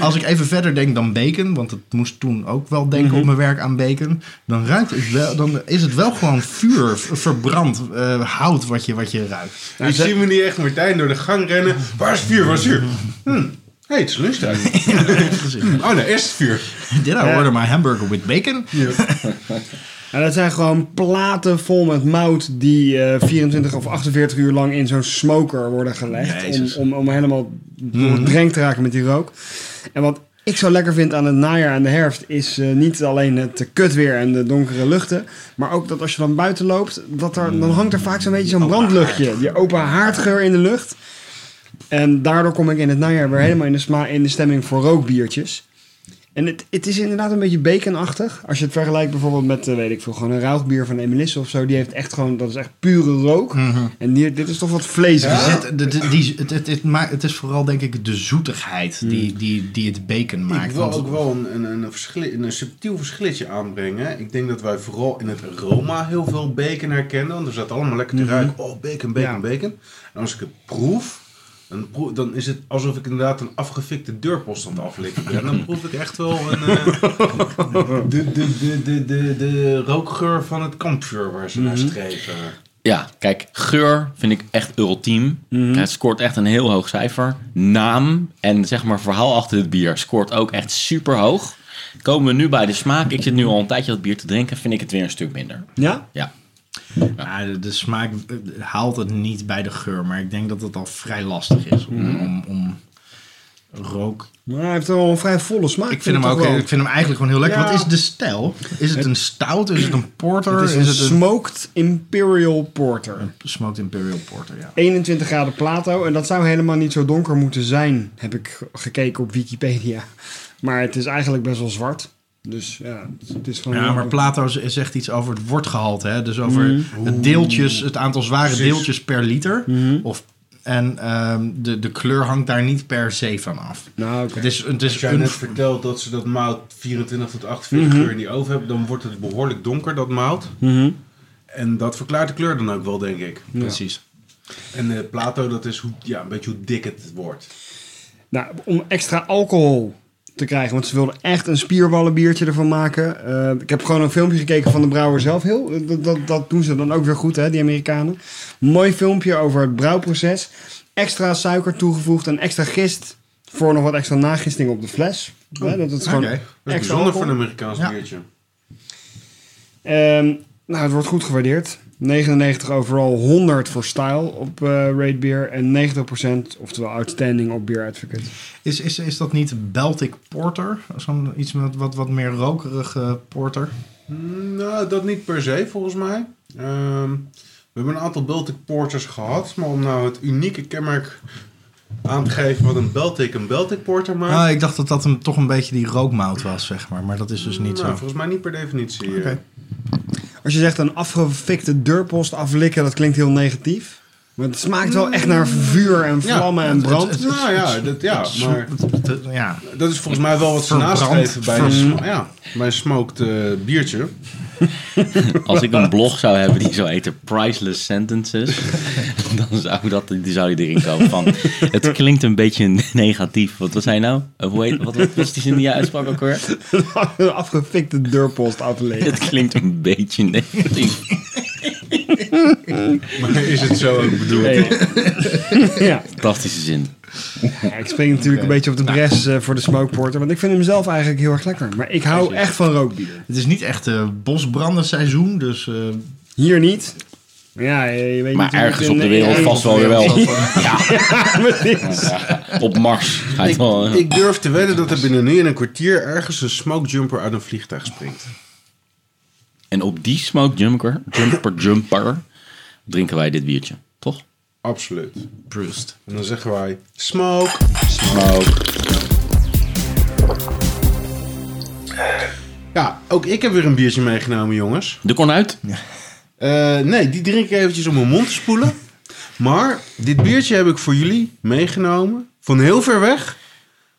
Speaker 2: als ik even verder denk dan bacon, want het moest toen ook wel denken op mijn werk aan bacon, dan ruikt het wel, dan is het wel gewoon vuur, v- verbrand eh, hout wat je, wat je ruikt.
Speaker 3: Nou, ik zie me niet echt Martijn door de gang rennen. Waar is het vuur? Waar is het vuur? Hm. hey, het is lunchtijd. Hm, oh nee, eerst het vuur.
Speaker 2: Did I order my hamburger with bacon?
Speaker 5: Nou, dat zijn gewoon platen vol met mout die eh, 24 of 48 uur lang in zo'n smoker worden gelegd. Om,
Speaker 2: Jezus.
Speaker 5: om, om helemaal doordrenkt te raken met die rook. En wat ik zo lekker vind aan het najaar en de herfst is eh, niet alleen het eh, kutweer en de donkere luchten. Maar ook dat als je dan buiten loopt, dat er, dan hangt er vaak zo'n beetje zo'n brandluchtje. Die open haardgeur in de lucht. En daardoor kom ik in het najaar weer helemaal in de, sma in de stemming voor rookbiertjes. En het, het is inderdaad een beetje baconachtig. Als je het vergelijkt bijvoorbeeld met, eh, weet ik veel, gewoon een rauwbier van Emelisse of zo. Die heeft echt gewoon, dat is echt pure rook.
Speaker 2: Mhm.
Speaker 5: En die, dit is toch wat vleesig.
Speaker 2: Er zit- de- de- die- Dus het, het, het, maakt- het is vooral denk ik de zoetigheid die, die, die het bacon maakt.
Speaker 3: Ik wil
Speaker 2: want-
Speaker 3: ook wel een, een, een, verschil, een subtiel verschilletje aanbrengen. Ik denk dat wij vooral in het aroma heel veel bacon herkennen. Want er zat allemaal lekker te ruiken. Oh, bacon, bacon,
Speaker 5: Ja.
Speaker 3: bacon. En als ik het proef, dan, proef- dan is het alsof ik inderdaad een afgefikte deurpost aan het aflikken ben. Dan proef ik echt wel een, eh, de, de, de, de, de, de rookgeur van het kampvuur waar ze naar streven.
Speaker 1: Ja, kijk, geur vind ik echt ultiem. Het scoort echt een heel hoog cijfer. Naam en zeg maar verhaal achter het bier scoort ook echt super hoog. Komen we nu bij de smaak. Ik zit nu al een tijdje dat bier te drinken. Vind ik het weer een stuk minder.
Speaker 5: Ja?
Speaker 1: Ja.
Speaker 2: Ja, de, de smaak eh, haalt het niet bij de geur, maar ik denk dat het al vrij lastig is om, om, om rook.
Speaker 5: Maar hij heeft wel een vrij volle smaak.
Speaker 2: Ik vind, hem ook,
Speaker 5: toch wel.
Speaker 2: ik vind hem eigenlijk gewoon heel lekker.
Speaker 5: Ja.
Speaker 2: Wat is de stijl? Is het een stout? Is het een porter?
Speaker 5: Het is een smoked imperial porter.
Speaker 2: smoked imperial porter? Ja.
Speaker 5: 21 graden Plato. En dat zou helemaal niet zo donker moeten zijn, heb ik ge- gekeken op Wikipedia. Maar het is eigenlijk best wel zwart. Dus ja, het is gewoon...
Speaker 2: Ja, maar Plato z- zegt iets over het wortgehalte. Hè? Dus over het deeltjes, het aantal zware deeltjes per liter. Of, en ehm, de, de kleur hangt daar niet per se van af.
Speaker 5: Nou, oké.
Speaker 2: Het is, het
Speaker 3: Als
Speaker 2: is
Speaker 3: jij
Speaker 2: een Mhm.
Speaker 3: net vertelt dat ze dat mout 24 tot 48 uur in die oven hebben, dan wordt het behoorlijk donker, dat mout.
Speaker 5: Mhm.
Speaker 3: En dat verklaart de kleur dan ook wel, denk ik.
Speaker 2: Precies.
Speaker 3: En eh, Plato, dat is hoe, ja, een beetje hoe dik het wordt.
Speaker 5: Nou, om extra alcohol te krijgen. Want ze wilden echt een spierballenbiertje ervan maken. Eh, ik heb gewoon een filmpje gekeken van de brouwer zelf. Heel, eh, dat, dat, dat doen ze dan ook weer goed, hè, die Amerikanen. Mooi filmpje over het brouwproces. Extra suiker toegevoegd en extra gist voor nog wat extra nagisting op de fles. Hè, dat het gewoon
Speaker 2: oké. Dat
Speaker 3: Oh, Dat is
Speaker 5: extra
Speaker 3: bijzonder voor een
Speaker 5: alcohol.
Speaker 3: Amerikaans
Speaker 2: Ja.
Speaker 3: biertje.
Speaker 5: Ehm, nou, het wordt goed gewaardeerd. 99 overal, 100 voor style op eh Rate Beer en 90% oftewel outstanding op Beer Advocate.
Speaker 2: Is, is, is dat niet Baltic Porter? Zo'n iets met wat, wat meer rokerige porter?
Speaker 3: Mm, Nou, dat niet per se, volgens mij. Ehm, we hebben een aantal Baltic Porters gehad, maar om nou het unieke kenmerk aan te geven wat een Baltic een Baltic Porter maakt.
Speaker 2: Ah, ik dacht dat dat hem toch een beetje die rookmout was, zeg maar. Maar dat is dus niet
Speaker 3: nou,
Speaker 2: zo.
Speaker 3: volgens mij niet per definitie. eh.
Speaker 2: Oké.
Speaker 5: Als je zegt een afgefikte deurpost aflikken, dat klinkt heel negatief. Maar het smaakt wel echt naar vuur en vlammen en brand.
Speaker 3: Nou ja, dat, ja, maar
Speaker 2: Ja,
Speaker 3: dat is volgens mij wel wat ze
Speaker 2: Verbrand.
Speaker 3: nastreven bij een, sm- ja, bij een smoked eh, biertje.
Speaker 1: Als ik
Speaker 3: *laughs*
Speaker 1: een blog zou hebben die zou heten Priceless Sentences, *laughs* dan zou, dat, die zou die erin komen van, het klinkt een beetje *laughs* negatief. Wat was hij nou? Of hoe heet, wat wat was die zin die jij uitsprak ook weer?
Speaker 5: *laughs* een afgefikte deurpost aflikken.
Speaker 1: Het klinkt een beetje negatief.
Speaker 3: Maar is het zo ook bedoeld?
Speaker 5: ja.
Speaker 1: Fantastische zin.
Speaker 5: Ja, ik spring natuurlijk een beetje op de bres eh, voor de smokeporter, want ik vind hem zelf eigenlijk heel erg lekker. Maar ik hou echt van rookbier.
Speaker 2: het is niet echt eh bosbrandenseizoen, dus... eh,
Speaker 5: Hier niet. Ja, je je weet
Speaker 1: Maar
Speaker 5: niet hoe
Speaker 1: ergens
Speaker 5: het
Speaker 1: op
Speaker 5: in-
Speaker 1: de wereld
Speaker 5: in-
Speaker 1: vast
Speaker 5: *laughs*
Speaker 1: wel
Speaker 2: *laughs*
Speaker 1: weer wel.
Speaker 5: precies.
Speaker 1: Op Mars. Schijnt
Speaker 3: Ik,
Speaker 1: wel, eh,
Speaker 3: ik durf te wedden dat er binnen nu en een kwartier ergens een smokejumper uit een vliegtuig springt.
Speaker 1: En op die smoke jumper, jumper, jumper, drinken wij dit biertje. Toch?
Speaker 3: Absoluut.
Speaker 2: Proust.
Speaker 3: En dan zeggen wij: smoke.
Speaker 1: Smoke.
Speaker 3: Ja, ook ik heb weer een biertje meegenomen, jongens.
Speaker 1: De kon uit.
Speaker 3: Eh, nee, die drink ik eventjes om mijn mond te spoelen. Maar dit biertje heb ik voor jullie meegenomen. Van heel ver weg.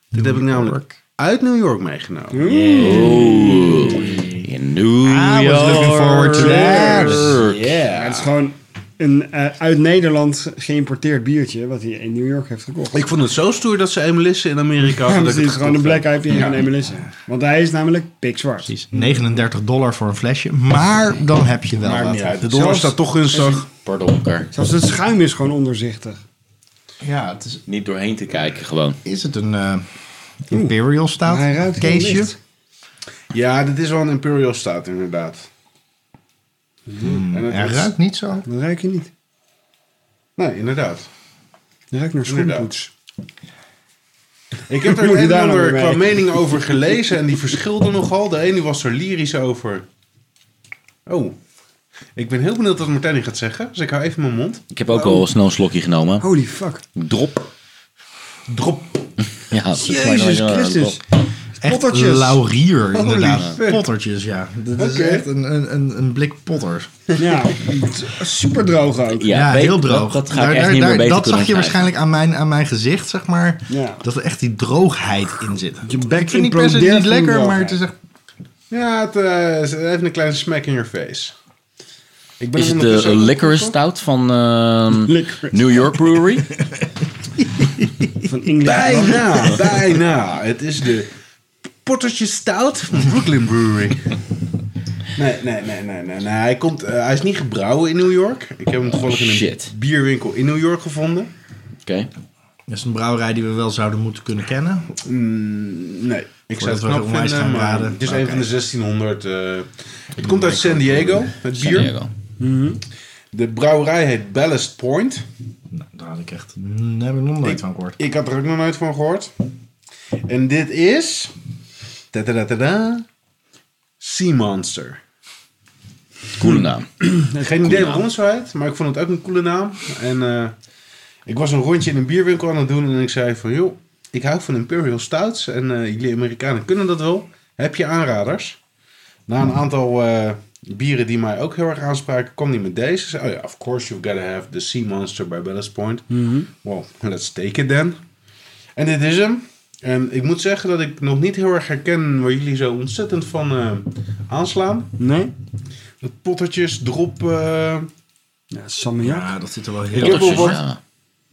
Speaker 3: Dit heb ik namelijk uit New York meegenomen.
Speaker 1: In New
Speaker 3: Ah,
Speaker 2: I was looking forward to
Speaker 1: York.
Speaker 2: that.
Speaker 5: Ja, het is gewoon een eh, uit Nederland geïmporteerd biertje wat hij in New York heeft gekocht.
Speaker 3: Ik vond het zo stoer dat ze emelissen in Amerika
Speaker 5: *laughs* Ja,
Speaker 3: hadden. dat ik
Speaker 5: precies.
Speaker 3: het
Speaker 5: Gewoon een
Speaker 3: gekocht
Speaker 5: black IPA van Emelisse. Want hij is namelijk pikzwart.
Speaker 2: Precies. 39 dollar voor een flesje. Maar dan heb je wel
Speaker 5: Maakt
Speaker 2: wat.
Speaker 5: niet
Speaker 3: heb. Ja,
Speaker 5: uit.
Speaker 3: de dollar
Speaker 5: Zelfs-
Speaker 3: staat toch gunstig.
Speaker 1: Pardonker.
Speaker 5: Zelfs Dus het schuim is gewoon onderzichtig.
Speaker 2: Ja, het is,
Speaker 1: Niet doorheen te kijken gewoon.
Speaker 2: is het een eh, Imperial staat?
Speaker 5: Maar hij ruikt heel
Speaker 2: Keesje?
Speaker 5: licht.
Speaker 3: Ja, dit is wel een Imperial staat inderdaad. En het
Speaker 2: Hij
Speaker 3: is-
Speaker 2: ruikt niet zo.
Speaker 5: Dan ruik je niet.
Speaker 3: Nee, inderdaad.
Speaker 5: Dan ruikt naar schoenpoets.
Speaker 3: Ik
Speaker 5: *laughs*
Speaker 3: heb er een
Speaker 5: Moet je
Speaker 3: en
Speaker 5: daar nou
Speaker 3: ander
Speaker 5: mee?
Speaker 3: qua mening over gelezen en die verschilden nogal. De ene was er lyrisch over. Oh, ik ben heel benieuwd wat Martijn hier gaat zeggen. Dus ik hou even mijn mond.
Speaker 1: Ik heb ook al snel een slokje genomen.
Speaker 5: Holy fuck.
Speaker 1: Drop.
Speaker 3: Drop.
Speaker 1: Ja, dat is mijn-
Speaker 5: Jezus Christus.
Speaker 2: Echt
Speaker 5: Pottertjes.
Speaker 2: laurier,
Speaker 3: Holy
Speaker 2: inderdaad.
Speaker 3: fuck.
Speaker 2: Pottertjes, ja. Dat is
Speaker 3: Oké.
Speaker 2: echt een, een, een, een blik potter.
Speaker 5: Ja, *laughs* super droog ook.
Speaker 1: Ja,
Speaker 2: Ja,
Speaker 1: weet-
Speaker 2: heel droog.
Speaker 1: Dat, dat ga
Speaker 2: Daar-
Speaker 1: ik echt
Speaker 2: daar-
Speaker 1: niet meer
Speaker 2: daar-
Speaker 1: beter
Speaker 2: Dat
Speaker 1: kunnen
Speaker 2: zag
Speaker 1: omschrijven.
Speaker 2: je waarschijnlijk aan mijn, aan mijn gezicht, zeg maar.
Speaker 5: Ja.
Speaker 2: Dat er echt die droogheid in zit.
Speaker 5: Je bek
Speaker 2: ik vind die pers
Speaker 5: implodeert
Speaker 2: niet
Speaker 5: van
Speaker 2: lekker,
Speaker 5: droogheid.
Speaker 2: maar het is echt...
Speaker 3: Ja, het, eh, is even een kleine smack in your face. Ik ben
Speaker 1: Is het de eh,
Speaker 3: ondertussen-
Speaker 1: licorice stout van ehm,
Speaker 2: *laughs*
Speaker 5: Licorice.
Speaker 1: New York Brewery?
Speaker 5: Van Engeland.
Speaker 1: *laughs*
Speaker 3: Bijna, bijna. Het is de Pottertje Stout van Brooklyn Brewery. Nee, nee, nee, nee, nee. nee. Hij, komt, eh, hij is niet gebrouwen in New York. Ik heb hem toevallig in een
Speaker 1: Shit.
Speaker 3: bierwinkel in New York gevonden.
Speaker 1: Oké.
Speaker 2: Dat is een brouwerij die we wel zouden moeten kunnen kennen.
Speaker 3: Mm, nee, ik zou
Speaker 2: Voordat
Speaker 3: het
Speaker 2: we
Speaker 3: knap
Speaker 2: onwijs
Speaker 3: vinden,
Speaker 2: gaan
Speaker 3: maar
Speaker 2: raden.
Speaker 3: het is een
Speaker 2: Oké.
Speaker 3: van de 1600. eh, het komt uit San Diego, het
Speaker 1: San
Speaker 3: bier.
Speaker 1: Diego.
Speaker 3: De brouwerij heet Ballast Point.
Speaker 2: Nou, daar had ik echt... mm, Daar heb ik nog nooit van gehoord.
Speaker 3: Ik had er ook nog nooit van gehoord. En dit is... ta-ta-ta-ta-ta, Sea Monster.
Speaker 1: Coole naam.
Speaker 3: Geen idee waarom het zo heet, maar ik vond het ook een coole naam. En eh, ik was een rondje in een bierwinkel aan het doen en ik zei van... joh, ik hou van Imperial Stouts en eh, jullie Amerikanen kunnen dat wel. Heb je aanraders? Na een aantal eh, bieren die mij ook heel erg aanspraken, kwam die met deze. Ze Zei, oh ja, of course you've gotta have the Sea Monster by Ballast Point. Well, let's take it then. En dit is hem. En ik moet zeggen dat ik nog niet heel erg herken waar jullie zo ontzettend van eh, aanslaan.
Speaker 5: Nee?
Speaker 3: Dat pottertjes, drop... eh,
Speaker 5: Ja, Samia.
Speaker 2: Ja, dat zit er wel heel...
Speaker 3: heb wel
Speaker 1: Pottertjes,
Speaker 3: wat-
Speaker 1: ja.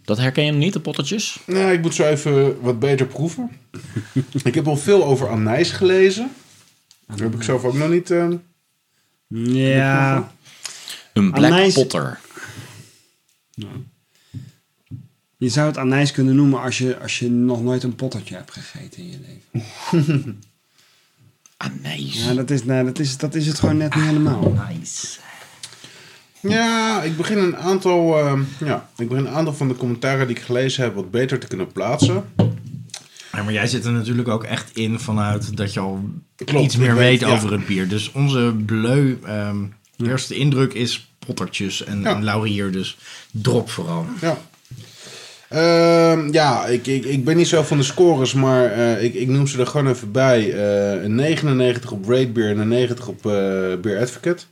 Speaker 1: Dat herken je hem niet, de pottertjes?
Speaker 3: Nou, ik moet zo even wat beter proeven. ik heb al veel over anijs gelezen. Dat heb ik zelf ook nog niet. eh,
Speaker 5: Ja.
Speaker 1: Een black
Speaker 5: Anijs.
Speaker 1: potter.
Speaker 5: Je zou het anijs kunnen noemen als je, als je nog nooit een pottertje hebt gegeten in je leven.
Speaker 1: Anijs.
Speaker 5: Ja, dat is, nou, dat is, dat is het gewoon net niet
Speaker 2: *laughs*
Speaker 5: helemaal.
Speaker 1: Anijs.
Speaker 3: Ja, ik begin een aantal. eh, ja, ik begin een aantal van de commentaren die ik gelezen heb wat beter te kunnen plaatsen.
Speaker 2: Ja, maar jij zit er natuurlijk ook echt in vanuit dat je al
Speaker 3: Klopt,
Speaker 2: iets meer
Speaker 3: ik
Speaker 2: weet
Speaker 3: weet, ja.
Speaker 2: over het bier. Dus onze bleu ehm, eerste indruk is pottertjes en,
Speaker 3: Ja.
Speaker 2: en laurier. Dus drop vooral.
Speaker 3: Ja. Ehm, ja, ik, ik, ik ben niet zo van de scores, maar eh, ik, ik noem ze er gewoon even bij. Eh, een 99 op Raid Beer en een 90 op eh Beer Advocate.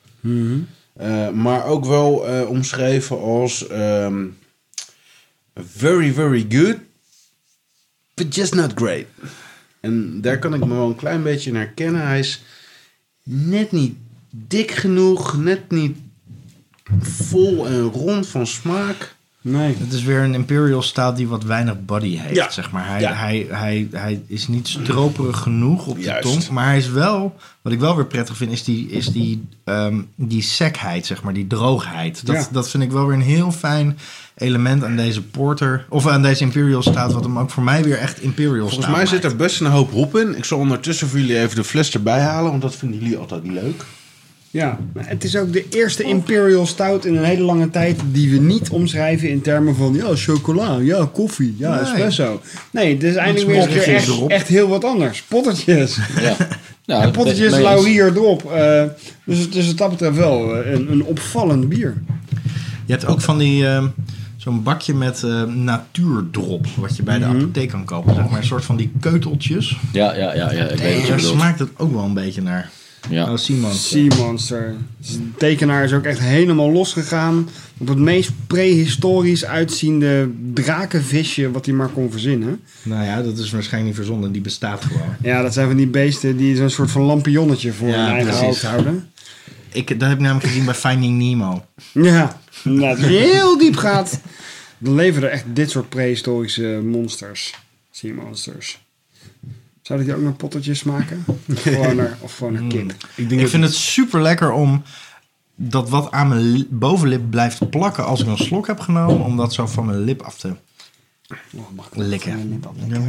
Speaker 3: Eh, maar ook wel eh, omschreven als ehm, very, very good, but just not great. En daar kan ik me wel een klein beetje in herkennen. Hij is net niet dik genoeg, net niet vol en rond van smaak.
Speaker 5: Nee.
Speaker 2: Het is weer een Imperial staat die wat weinig body heeft,
Speaker 3: Ja.
Speaker 2: zeg maar. Hij,
Speaker 3: Ja.
Speaker 2: hij, hij, hij is niet stroperig genoeg op de
Speaker 3: Juist.
Speaker 2: tong. Maar hij is wel, wat ik wel weer prettig vind, is die, is die, ehm, die sekheid, zeg maar. Die droogheid. Dat,
Speaker 5: Ja.
Speaker 2: dat vind ik wel weer een heel fijn element aan deze porter. Of aan deze Imperial staat, wat hem ook voor mij weer echt Imperial staat
Speaker 3: Volgens mij zit
Speaker 2: maakt.
Speaker 3: er best een hoop hop in. Ik zal ondertussen voor jullie even de fles erbij halen, want dat vinden jullie altijd leuk.
Speaker 5: Ja, maar het is ook de eerste Imperial Stout in een hele lange tijd die we niet omschrijven in termen van ja, chocola, ja, koffie, ja,
Speaker 2: Nee.
Speaker 5: espresso. Nee, het is eindelijk weer eens een keer
Speaker 2: pottertjes
Speaker 5: echt,
Speaker 2: erop.
Speaker 5: echt heel wat anders. Pottertjes.
Speaker 1: Ja. Nou,
Speaker 5: en pottertjes, laurier erop. eh, dus, het is wat dat betreft wel eh, een, een opvallend bier.
Speaker 2: Je hebt ook van die... ehm, Zo'n bakje met eh, natuurdrop, wat je bij
Speaker 3: Mhm.
Speaker 2: de apotheek kan kopen. Zeg maar een soort van die keuteltjes.
Speaker 1: Ja, ja, ja, ja. Ik weet wat je
Speaker 2: Daar
Speaker 1: bedoelt.
Speaker 2: smaakt het ook wel een beetje naar.
Speaker 1: Ja.
Speaker 2: Oh, Simon.
Speaker 5: Sea Monster. Dus De tekenaar is ook echt helemaal losgegaan op het meest prehistorisch uitziende drakenvisje wat hij maar kon verzinnen.
Speaker 2: Nou ja, dat is waarschijnlijk niet verzonnen. Die bestaat gewoon.
Speaker 5: Ja, dat zijn van die beesten die zo'n soort van lampionnetje voor
Speaker 2: Ja,
Speaker 5: hun eigen
Speaker 2: precies.
Speaker 5: hoofd
Speaker 2: *laughs*
Speaker 5: houden.
Speaker 2: Ik, dat heb ik namelijk gezien bij Finding Nemo.
Speaker 5: Ja, nou, als je heel diep gaat, dan leveren er echt dit soort prehistorische monsters. Sea monsters. Zouden die ook naar pottetjes maken? Of gewoon naar, of gewoon naar kip?
Speaker 2: Ik, vind het super lekker om dat wat aan mijn li- bovenlip blijft plakken als ik een slok heb genomen, om dat zo van mijn lip af te
Speaker 5: Oh, mag ik mijn
Speaker 2: likken.
Speaker 5: lip af-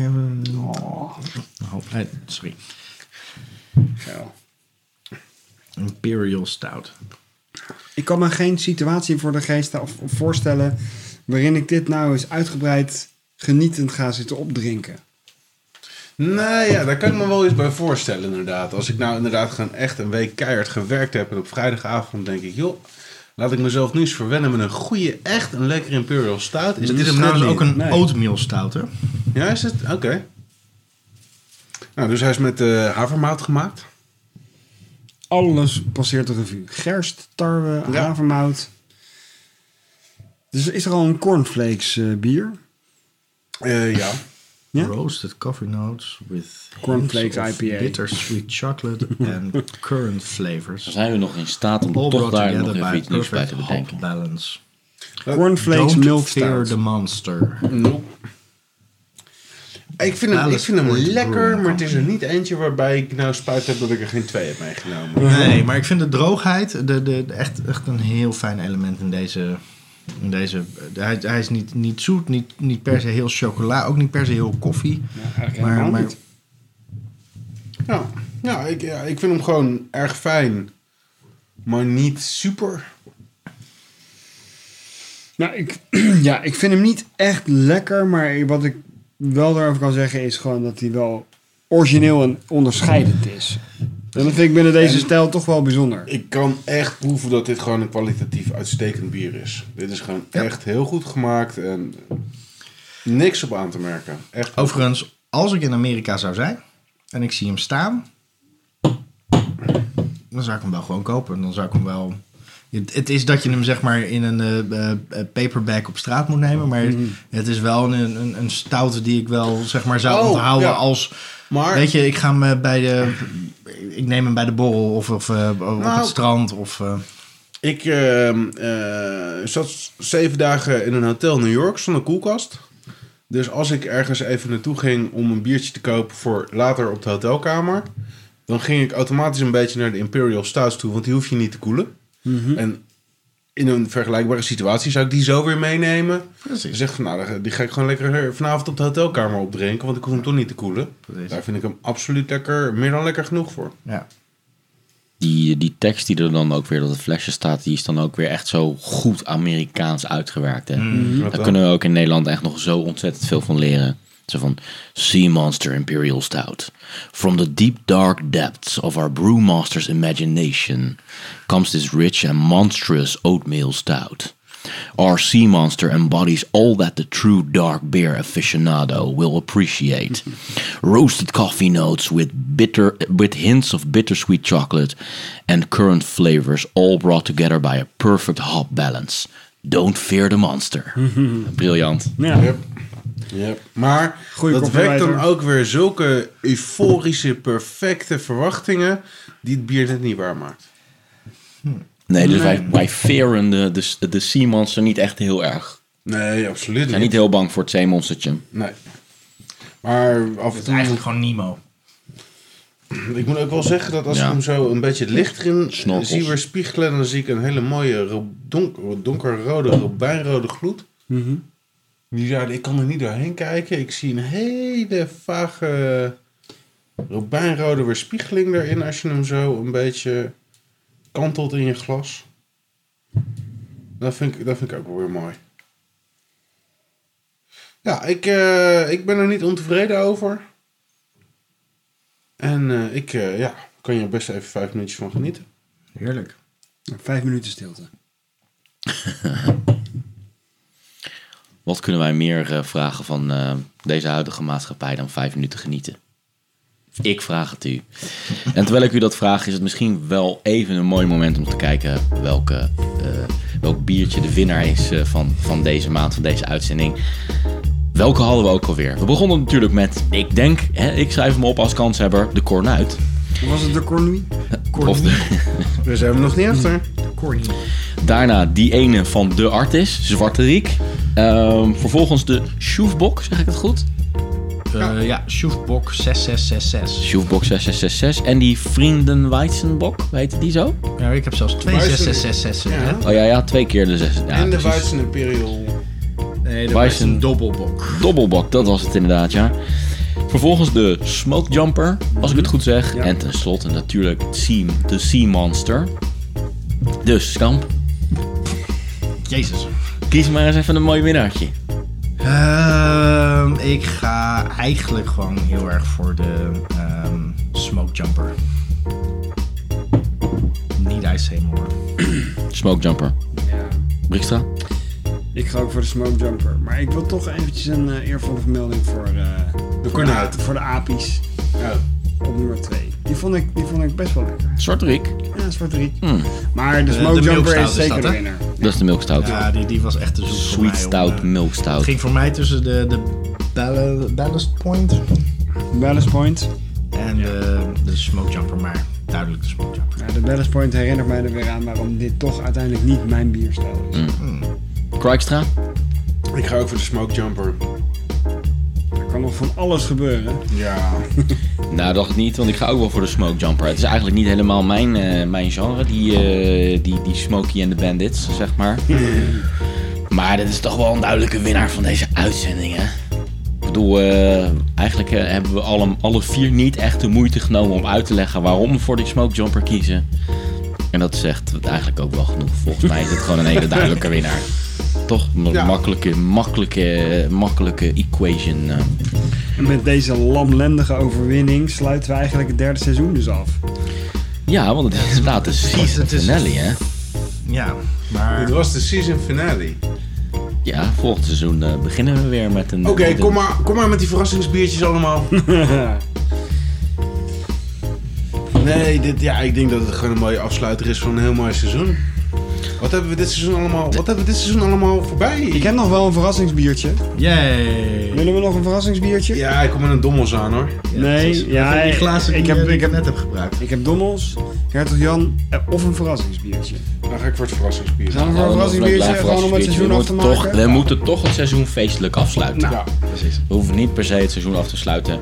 Speaker 2: Oh. eh, sorry.
Speaker 5: Geil.
Speaker 2: Imperial Stout.
Speaker 5: Ik kan me geen situatie voor de geest of of voorstellen waarin ik dit nou eens uitgebreid genietend ga zitten opdrinken.
Speaker 3: Nou ja, daar kan ik me wel eens bij voorstellen inderdaad. Als ik nou inderdaad gewoon echt een week keihard gewerkt heb... en op vrijdagavond denk ik, joh, laat ik mezelf nu eens verwennen... met een goede, echt een lekker Imperial Stout. Is nou
Speaker 2: Dit is
Speaker 3: het
Speaker 2: trouwens
Speaker 3: net
Speaker 2: ook
Speaker 3: niet?
Speaker 2: een
Speaker 5: Nee.
Speaker 2: oatmeal stout, hè?
Speaker 3: Ja, is het? Oké. Nou, dus hij is met eh havermout gemaakt.
Speaker 5: Alles passeert de revue. Gerst, tarwe,
Speaker 3: Ja.
Speaker 5: havermout. Dus is er al een cornflakes eh, bier?
Speaker 3: Eh, ja.
Speaker 5: Ja?
Speaker 2: Roasted coffee notes with
Speaker 5: Cornflakes
Speaker 2: hints of
Speaker 5: IPA.
Speaker 2: bittersweet
Speaker 5: *laughs*
Speaker 2: chocolate and currant flavors.
Speaker 1: Zijn we nog in staat om
Speaker 2: All
Speaker 1: toch
Speaker 2: brought
Speaker 1: daar
Speaker 2: together
Speaker 1: nog
Speaker 2: by
Speaker 1: even iets nieuws bij
Speaker 2: perfect
Speaker 1: te
Speaker 2: hop
Speaker 1: bedenken?
Speaker 2: balance.
Speaker 5: Cornflakes
Speaker 2: Don't
Speaker 5: milk
Speaker 2: fear
Speaker 5: stout.
Speaker 2: the monster.
Speaker 3: Nope. Ik vind hem, ik
Speaker 2: Alice
Speaker 3: vind hem
Speaker 2: wordt
Speaker 3: lekker,
Speaker 2: Brewing
Speaker 3: maar het is er
Speaker 2: Company.
Speaker 3: niet eentje waarbij ik nou spuit heb dat ik er geen twee heb meegenomen.
Speaker 2: Nee, maar ik vind de droogheid de, de, de- echt, echt een heel fijn element in deze... In deze hij, hij is niet, niet zoet, niet, niet per se heel chocola, ook niet per se heel koffie. maar, maar
Speaker 3: Ja, ja, ik, ja, ik vind hem gewoon erg fijn, maar niet super.
Speaker 5: Nou, ik, *clears throat* ja, ik vind hem niet echt lekker, maar wat ik wel daarover kan zeggen is gewoon dat hij wel origineel en onderscheidend is. En dat vind ik binnen deze stijl toch wel bijzonder.
Speaker 3: Ik kan echt proeven dat dit gewoon een kwalitatief uitstekend bier is. Dit is gewoon echt heel goed gemaakt en niks op aan te merken. Echt.
Speaker 2: Overigens, als ik in Amerika zou zijn en ik zie hem staan, dan zou ik hem wel gewoon kopen. Dan zou ik hem wel. Het het is dat je hem zeg maar in een eh, eh, paperback op straat moet nemen, maar
Speaker 3: Mm-hmm.
Speaker 2: het is wel een, een, een stout die ik wel zeg maar zou
Speaker 3: Oh,
Speaker 2: onthouden
Speaker 3: ja.
Speaker 2: als.
Speaker 3: Maar
Speaker 2: Weet je, ik ga hem eh, bij de. Ik neem hem bij de borrel of, of eh, op
Speaker 3: Nou.
Speaker 2: het strand of. eh,
Speaker 3: Ik ehm, eh, zat zeven dagen in een hotel in New York zonder koelkast. Dus als ik ergens even naartoe ging om een biertje te kopen voor later op de hotelkamer, dan ging ik automatisch een beetje naar de Imperial Stouts toe, want die hoef je niet te koelen.
Speaker 2: Mhm.
Speaker 3: En in een vergelijkbare situatie zou ik die zo weer meenemen.
Speaker 2: Precies.
Speaker 3: Zeg van nou, die ga ik gewoon lekker vanavond op de hotelkamer opdrinken, want ik hoef hem toch niet te koelen.
Speaker 2: Precies.
Speaker 3: Daar vind ik hem absoluut lekker, meer dan lekker genoeg voor.
Speaker 2: ja.
Speaker 1: Die, die tekst die er dan ook weer op het flesje staat, die is dan ook weer echt zo goed Amerikaans uitgewerkt. Hè? Daar
Speaker 3: dan?
Speaker 1: kunnen we ook in Nederland echt nog zo ontzettend veel van leren. Zo van Sea Monster Imperial Stout. From the deep dark depths of our brewmaster's imagination comes this rich and monstrous oatmeal stout. Our sea monster embodies all that the true dark beer aficionado will *laughs* appreciate. Roasted coffee notes with bitter with hints of bittersweet chocolate and currant flavors all brought together by a perfect hop balance. Don't fear the monster. *laughs* Briljant.
Speaker 5: Ja.
Speaker 3: Yep. Maar
Speaker 5: Goeie
Speaker 3: dat wekt dan
Speaker 5: copywriter.
Speaker 3: ook weer zulke euforische, perfecte verwachtingen die het bier net niet waar maakt.
Speaker 1: Nee, dus Wij, wij fearen de, de, de sea monster niet echt heel erg.
Speaker 3: Nee, absoluut
Speaker 1: We
Speaker 3: niet.
Speaker 1: zijn niet heel bang voor het zeemonstertje.
Speaker 3: Nee. Maar af en
Speaker 2: Het is
Speaker 3: toe,
Speaker 2: eigenlijk gewoon Nemo.
Speaker 3: ik moet ook wel zeggen dat als
Speaker 1: Ja.
Speaker 3: ik hem zo een beetje het licht erin
Speaker 1: Snorkels.
Speaker 3: zie weer spiegelen, dan zie ik een hele mooie ro- donker, donkerrode, robijnrode gloed. Die ja, ik kan er niet doorheen kijken. Ik zie een hele vage robijnrode weerspiegeling erin als je hem zo een beetje kantelt in je glas. Dat vind ik, dat vind ik ook wel weer mooi. Ja, ik, eh, ik ben er niet ontevreden over. En eh, ik eh, ja, kan je er best even vijf minuutjes van genieten.
Speaker 2: Heerlijk.
Speaker 5: Vijf minuten stilte.
Speaker 1: Wat kunnen wij meer eh, vragen van eh, deze huidige maatschappij dan vijf minuten genieten? Ik vraag het u. En terwijl ik u dat vraag, is het misschien wel even een mooi moment om te kijken welke, eh, welk biertje de winnaar is eh, van, van deze maand, van deze uitzending. Welke hadden we ook alweer? We begonnen natuurlijk met, ik denk, hè, ik schrijf hem op als kanshebber, de Cornuit.
Speaker 5: Was het de cornui?
Speaker 1: Of
Speaker 2: Corny.
Speaker 1: de-
Speaker 7: Daar zijn we nog niet achter.
Speaker 2: Corny.
Speaker 1: *laughs* daarna die ene van de artist, Zwarte Riek. Ehm, vervolgens de Sjoefbok, zeg ik het goed?
Speaker 2: Eh, ja, Shoefbok 6666.
Speaker 1: Sjoefbok 6666. En die Vrienden Weizenbok, heet die zo?
Speaker 2: Ja, ik heb zelfs twee
Speaker 3: Luister.
Speaker 2: 6666.
Speaker 3: Ja.
Speaker 2: hè?
Speaker 1: Oh ja, ja, twee keer de zes. Ja,
Speaker 3: en de
Speaker 1: precies.
Speaker 3: Weizen Imperial.
Speaker 2: Nee,
Speaker 1: Waar
Speaker 2: dat
Speaker 1: is
Speaker 2: is
Speaker 1: een-
Speaker 2: een dobbelbok.
Speaker 1: Dobbelbak, dat was het inderdaad, ja. Vervolgens de Smoke Jumper, als ik het goed zeg. En tenslotte natuurlijk het sea, de Sea Monster. Dus, Skamp,
Speaker 2: Jezus.
Speaker 1: kies maar eens even een mooi winnaartje.
Speaker 2: Ehm, ik ga eigenlijk gewoon heel erg voor de ehm smoke jumper. Niet Ice Seymour.
Speaker 1: Smoke Jumper. Brikstra?
Speaker 5: Ik ga ook voor de smoke jumper. Maar ik wil toch eventjes een eh, eervolle vermelding voor, eh,
Speaker 3: De Cornuit.
Speaker 5: voor de apies
Speaker 3: Ja.
Speaker 5: op nummer 2. Die vond ik, die vond ik best wel lekker.
Speaker 1: Zwarte Riek.
Speaker 5: Ja, zwarte riet.
Speaker 1: Mm.
Speaker 5: Maar de
Speaker 2: De-
Speaker 5: smoke
Speaker 2: de
Speaker 5: jumper
Speaker 2: milkstout
Speaker 5: is
Speaker 2: is
Speaker 5: zeker
Speaker 2: dat,
Speaker 5: de
Speaker 2: hè?
Speaker 5: winnaar.
Speaker 1: Dat is de Milk Stout.
Speaker 2: Ja, die, die was echt de zoek voor
Speaker 1: Sweet
Speaker 2: mij. om,
Speaker 1: Stout,
Speaker 2: eh,
Speaker 1: Milk
Speaker 2: het
Speaker 1: Stout.
Speaker 2: ging voor mij tussen de, de ball- Ballast Point
Speaker 5: Ballast Point.
Speaker 2: en de, de smoke jumper, maar duidelijk de smoke jumper.
Speaker 5: Ja, de Ballast Point herinnert mij er weer aan waarom dit toch uiteindelijk niet mijn bierstijl is.
Speaker 1: Krikstra?
Speaker 3: Ik ga ook voor de Smoke Jumper.
Speaker 5: Er kan nog van alles gebeuren.
Speaker 3: Ja.
Speaker 1: Nou, dacht ik niet, want ik ga ook wel voor de Smoke Jumper. Het is eigenlijk niet helemaal mijn, eh, mijn genre, die, eh, die, die Smokey en de Bandits, zeg
Speaker 2: *laughs*
Speaker 1: maar. maar dat is toch wel een duidelijke winnaar van deze uitzending, hè? Ik bedoel, eh, eigenlijk eh, hebben we alle, alle vier niet echt de moeite genomen om uit te leggen waarom we voor die Smoke Jumper kiezen. En dat zegt eigenlijk ook wel genoeg. Volgens mij is het gewoon een hele
Speaker 2: *laughs*
Speaker 1: duidelijke winnaar. Toch een
Speaker 3: Ja.
Speaker 1: makkelijke, makkelijke, eh, makkelijke equation. eh.
Speaker 5: En met deze lamlendige overwinning sluiten we eigenlijk het derde seizoen dus af.
Speaker 1: Ja, want het
Speaker 2: *laughs*
Speaker 1: is inderdaad de season
Speaker 2: het is-
Speaker 1: finale, hè?
Speaker 2: Ja, maar
Speaker 3: Dit was de season finale.
Speaker 1: Ja, volgend seizoen eh, beginnen we weer met een...
Speaker 3: Oké,
Speaker 1: met een-
Speaker 3: kom, maar, kom maar met die verrassingsbiertjes
Speaker 5: *laughs*
Speaker 3: allemaal. nee, dit, ja, ik denk dat het gewoon een mooie afsluiter is van een heel mooi seizoen. Wat hebben we dit seizoen allemaal, wat hebben we dit seizoen allemaal voorbij?
Speaker 5: Ik heb nog wel een verrassingsbiertje.
Speaker 2: yay.
Speaker 5: Willen we nog een verrassingsbiertje?
Speaker 3: Ja, ik kom met een dommels aan hoor.
Speaker 5: Nee, ja,
Speaker 2: die glazen
Speaker 5: ik,
Speaker 2: die,
Speaker 5: heb,
Speaker 2: eh, die
Speaker 5: ik, heb,
Speaker 2: net heb gebruikt.
Speaker 5: ik heb Dommels, Hertog Jan eh, of een verrassingsbiertje.
Speaker 3: Dan ga ik voor het verrassingsbier.
Speaker 5: Gaan we voor
Speaker 1: Ja,
Speaker 5: een
Speaker 1: want we
Speaker 5: verrassingsbiertje
Speaker 1: blijven
Speaker 5: gewoon om het
Speaker 1: verrassing
Speaker 5: seizoen
Speaker 1: biertje. We
Speaker 5: af te
Speaker 1: moeten
Speaker 5: maken?
Speaker 1: Toch, we moeten toch het seizoen feestelijk afsluiten.
Speaker 3: Ja,
Speaker 2: Precies.
Speaker 1: We hoeven niet per se het seizoen af te sluiten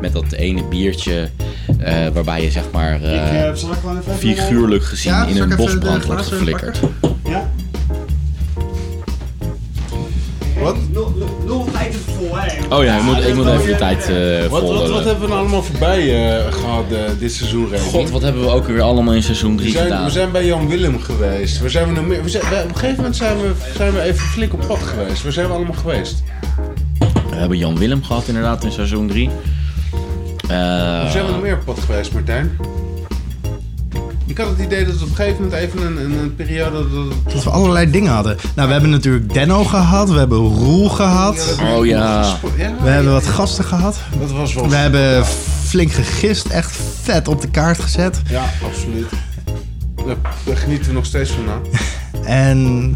Speaker 1: met dat ene biertje eh, waarbij je zeg maar
Speaker 5: Ik,
Speaker 1: eh,
Speaker 5: eh, zal ik gewoon even...
Speaker 1: figuurlijk gezien
Speaker 2: Ja,
Speaker 1: in
Speaker 2: zal
Speaker 1: een
Speaker 2: ik even de
Speaker 1: bosbrand wordt
Speaker 2: glazen
Speaker 1: geflikkerd.
Speaker 5: Ja.
Speaker 3: Wat?
Speaker 5: Nul- nul- Nul tijd is vol, hè.
Speaker 1: Oh ja, ik moet, ik moet even de
Speaker 5: Ja.
Speaker 1: tijd eh
Speaker 3: Wat, wat, wat
Speaker 1: volgen.
Speaker 3: hebben we nou allemaal voorbij eh, gehad eh, dit seizoen, Ray?
Speaker 1: God, wat hebben we ook weer allemaal in seizoen
Speaker 3: We
Speaker 1: 3
Speaker 3: zijn,
Speaker 1: gedaan?
Speaker 3: we zijn bij Jan Willem geweest. We zijn we nog meer, we zijn, we- op een gegeven moment zijn we, zijn we even flink op pad geweest. Waar zijn we allemaal geweest?
Speaker 1: We hebben Jan Willem gehad inderdaad in seizoen Eh, 3.
Speaker 3: Waar zijn we nog meer op pad geweest, Martijn? Ik had het idee dat we op een gegeven moment even een, een, een periode... Dat,
Speaker 2: Dat we allerlei dingen hadden. Nou, we hebben natuurlijk Denno gehad, we hebben Roel gehad,
Speaker 1: Oh ja.
Speaker 2: we hebben wat gasten gehad.
Speaker 3: Dat was wel...
Speaker 2: We hebben flink gegist, echt vet op de kaart gezet.
Speaker 3: Ja, absoluut. Daar, daar genieten we nog steeds van
Speaker 2: *laughs*
Speaker 3: na.
Speaker 2: En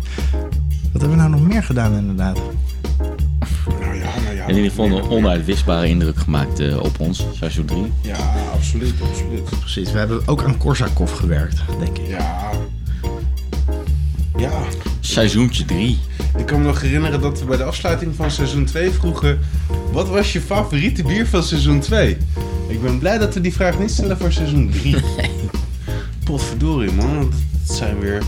Speaker 2: wat hebben we nou nog meer gedaan inderdaad?
Speaker 3: Nou ja, nou ja.
Speaker 1: In ieder geval een onuitwisbare indruk gemaakt eh, op ons, seizoen 3.
Speaker 3: Ja, absoluut, absoluut.
Speaker 2: Precies, we hebben ook aan Korsakov gewerkt, denk ik.
Speaker 3: Ja. Ja.
Speaker 1: Seizoentje 3.
Speaker 3: Ik kan me nog herinneren dat we bij de afsluiting van seizoen 2 vroegen... Wat was je favoriete bier van seizoen 2? Ik ben blij dat we die vraag niet stellen voor seizoen 3. Potverdorie, man. want Dat zijn weer...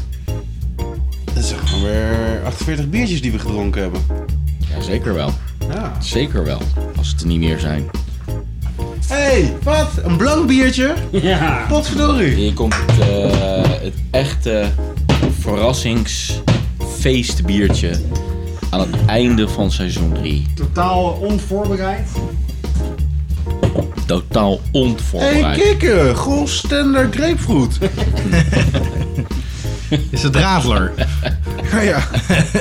Speaker 3: Dat zijn gewoon weer 48 biertjes die we gedronken hebben.
Speaker 1: Ja, zeker wel.
Speaker 3: Ja.
Speaker 1: Zeker wel. Als het er niet meer zijn.
Speaker 3: hey, wat? Een blank biertje?
Speaker 5: Ja.
Speaker 3: Potverdorie.
Speaker 1: Hier komt het, eh, het echte verrassingsfeestbiertje aan het einde van seizoen 3.
Speaker 5: Totaal onvoorbereid.
Speaker 1: Totaal
Speaker 3: hey,
Speaker 1: onvoorbereid.
Speaker 3: kikker. Gold standard grapefruit.
Speaker 2: Is het *laughs* Radler?
Speaker 3: ja, ja.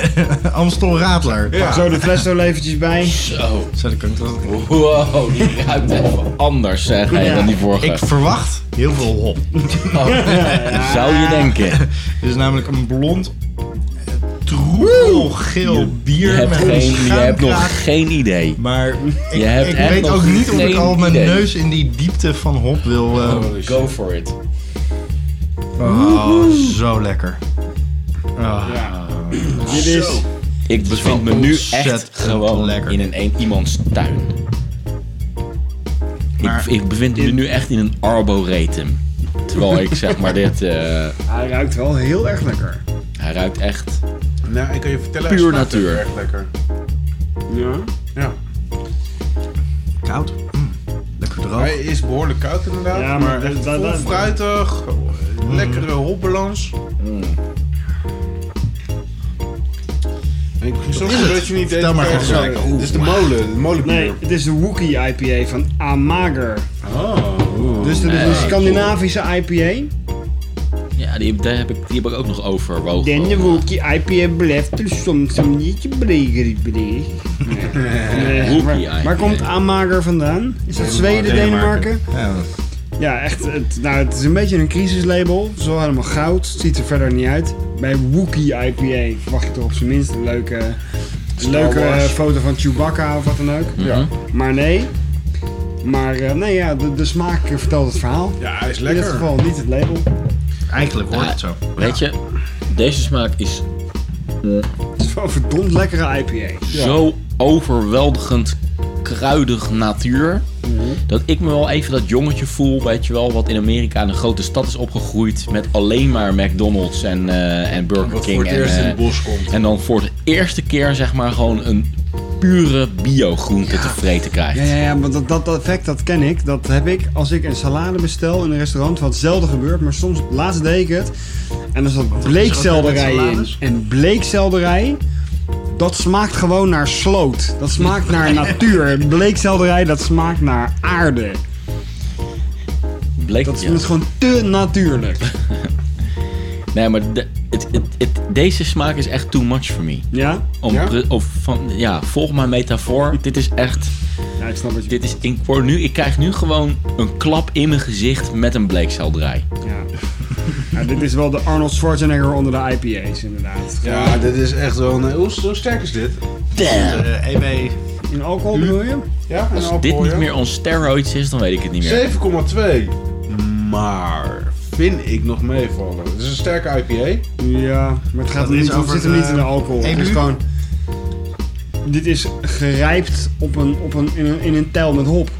Speaker 2: *laughs* Amstel Radler.
Speaker 3: Ja.
Speaker 5: Zo de fles er eventjes bij.
Speaker 1: Zo.
Speaker 2: Zo, dat kan ik toch-
Speaker 1: Wow, die ruikt even anders zeg, hè, dan die vorige.
Speaker 2: Ik verwacht heel veel hop.
Speaker 1: Zou je denken.
Speaker 2: Dit is namelijk een blond, eh, troebelgeel
Speaker 1: Je
Speaker 2: bier
Speaker 1: hebt,
Speaker 2: met een
Speaker 1: geen, je hebt
Speaker 2: schuimkraag.
Speaker 1: nog geen idee.
Speaker 2: Maar ik,
Speaker 1: hebt
Speaker 2: ik
Speaker 1: echt
Speaker 2: weet
Speaker 1: nog
Speaker 2: ook niet of ik
Speaker 1: geen
Speaker 2: al mijn
Speaker 1: idee.
Speaker 2: Oh, neus in die diepte van hop wil... eh,
Speaker 1: Go for it.
Speaker 2: Oh, zo lekker. Ah.
Speaker 5: Dit is
Speaker 1: Ik bevind me nu echt
Speaker 2: ontzettend
Speaker 1: gewoon
Speaker 2: lekker.
Speaker 1: in een, een- iemands tuin.
Speaker 2: Maar
Speaker 1: ik, ik bevind me nu echt in een arboretum. Terwijl ik zeg maar *laughs* dit... eh,
Speaker 5: Hij ruikt wel heel erg lekker.
Speaker 1: hij ruikt echt...
Speaker 3: Nou, ik kan je vertellen.
Speaker 1: Puur
Speaker 3: hij smaakt
Speaker 1: natuur.
Speaker 3: heel Erg lekker.
Speaker 5: Ja.
Speaker 3: Ja.
Speaker 2: koud. Mm, Lekker droog.
Speaker 3: Hij is behoorlijk koud inderdaad,
Speaker 5: Ja,
Speaker 3: maar,
Speaker 5: maar
Speaker 3: echt
Speaker 5: dat- dat-
Speaker 3: vol
Speaker 5: dat-
Speaker 3: fruitig, lekkere hopbalans. En Ik zorg
Speaker 2: is
Speaker 3: ervoor
Speaker 2: het.
Speaker 3: dat je niet
Speaker 2: Vertel
Speaker 3: deed
Speaker 2: maar gewoon
Speaker 3: vergelijken.
Speaker 2: gelijk. Oeh.
Speaker 3: Dit is de molen, de molenbier.
Speaker 5: Nee, het is de Wookie IPA van Amager.
Speaker 3: Oh.
Speaker 5: Dus dat is een
Speaker 1: Nee.
Speaker 5: Scandinavische IPA.
Speaker 1: Ja, die, daar heb ik, die heb ik ook nog overwogen.
Speaker 5: Den de Wookie IPA blijft er soms een beetje bregerig *laughs* breeg. Nee,
Speaker 1: Wookie
Speaker 5: maar- Waar
Speaker 1: IPA.
Speaker 5: komt Amager vandaan? Is dat Zweden, Denemarken?
Speaker 2: Ja, dat-
Speaker 5: Ja, echt. Het, nou, het is een beetje een crisislabel. Het is wel helemaal goud. Het ziet er verder niet uit. Bij Wookie IPA verwacht je toch op zijn minst een leuke, een leuke eh, foto van Chewbacca of wat dan ook.
Speaker 3: Mhm.
Speaker 1: Ja.
Speaker 5: Maar nee. Maar eh, nee, ja, de, de smaak vertelt het verhaal.
Speaker 3: Ja, hij is
Speaker 5: In dit
Speaker 3: lekker.
Speaker 5: geval niet het label.
Speaker 2: Eigenlijk hoort
Speaker 1: Ja,
Speaker 2: het zo.
Speaker 1: Weet je, deze smaak is
Speaker 5: Het is wel een verdomd lekkere IPA.
Speaker 1: zo overweldigend kruidig natuur.
Speaker 3: Mhm.
Speaker 1: Dat ik me wel even dat jongetje voel, weet je wel, wat in Amerika in een grote stad is opgegroeid. Met alleen maar McDonald's en, eh, en Burger
Speaker 3: Wat
Speaker 1: King.
Speaker 3: voor het
Speaker 1: en,
Speaker 3: eerst in
Speaker 1: eh,
Speaker 3: het bos komt.
Speaker 1: en dan voor de eerste keer, zeg maar, gewoon een pure biogroente te vreten krijgt.
Speaker 5: Ja, ja, ja, want dat, dat effect, dat ken ik. Dat heb ik als ik een salade bestel in een restaurant, wat zelden gebeurt. Maar soms, laatst deed ik het. En er zat bleekselderij
Speaker 2: met
Speaker 5: in.
Speaker 2: salades?
Speaker 5: En bleekselderij, dat smaakt gewoon naar sloot. Dat smaakt *laughs* naar natuur. Bleekselderij, dat smaakt naar aarde.
Speaker 1: Bleek,
Speaker 5: Dat is
Speaker 1: ja.
Speaker 5: dat is gewoon te natuurlijk.
Speaker 1: Nee, maar de- het, het, het- deze smaak is echt too much for me.
Speaker 5: Ja?
Speaker 1: Om
Speaker 3: Ja?
Speaker 1: pre- of van, ja, volg mijn
Speaker 3: *laughs*
Speaker 1: metafoor. dit is echt...
Speaker 5: Ja, ik snap wat je
Speaker 1: Dit is, ik, word nu, ik krijg nu gewoon een klap in mijn gezicht met een bleekselderij.
Speaker 5: Ja. Ja, dit is wel de Arnold Schwarzenegger onder de IPA's, inderdaad.
Speaker 3: Ja, dit is echt wel een... Hoe, hoe sterk is dit?
Speaker 2: Eh EB.
Speaker 5: In alcohol bedoel je?
Speaker 3: Ja,
Speaker 1: Als
Speaker 3: een alcohol,
Speaker 1: dit niet
Speaker 3: ja?
Speaker 1: meer on steroids is, dan weet ik het niet meer.
Speaker 3: 7,2. Maar vind ik nog meevallen. Het is een sterke IPA.
Speaker 5: Ja, maar het
Speaker 2: Dat
Speaker 5: gaat eh, er
Speaker 2: is
Speaker 5: niet, het
Speaker 2: over
Speaker 5: zit hem
Speaker 2: de-
Speaker 5: niet in de alcohol. Het is
Speaker 2: EBU?
Speaker 5: gewoon... Dit is gerijpt op een, op een, in, een, in een tel met hop.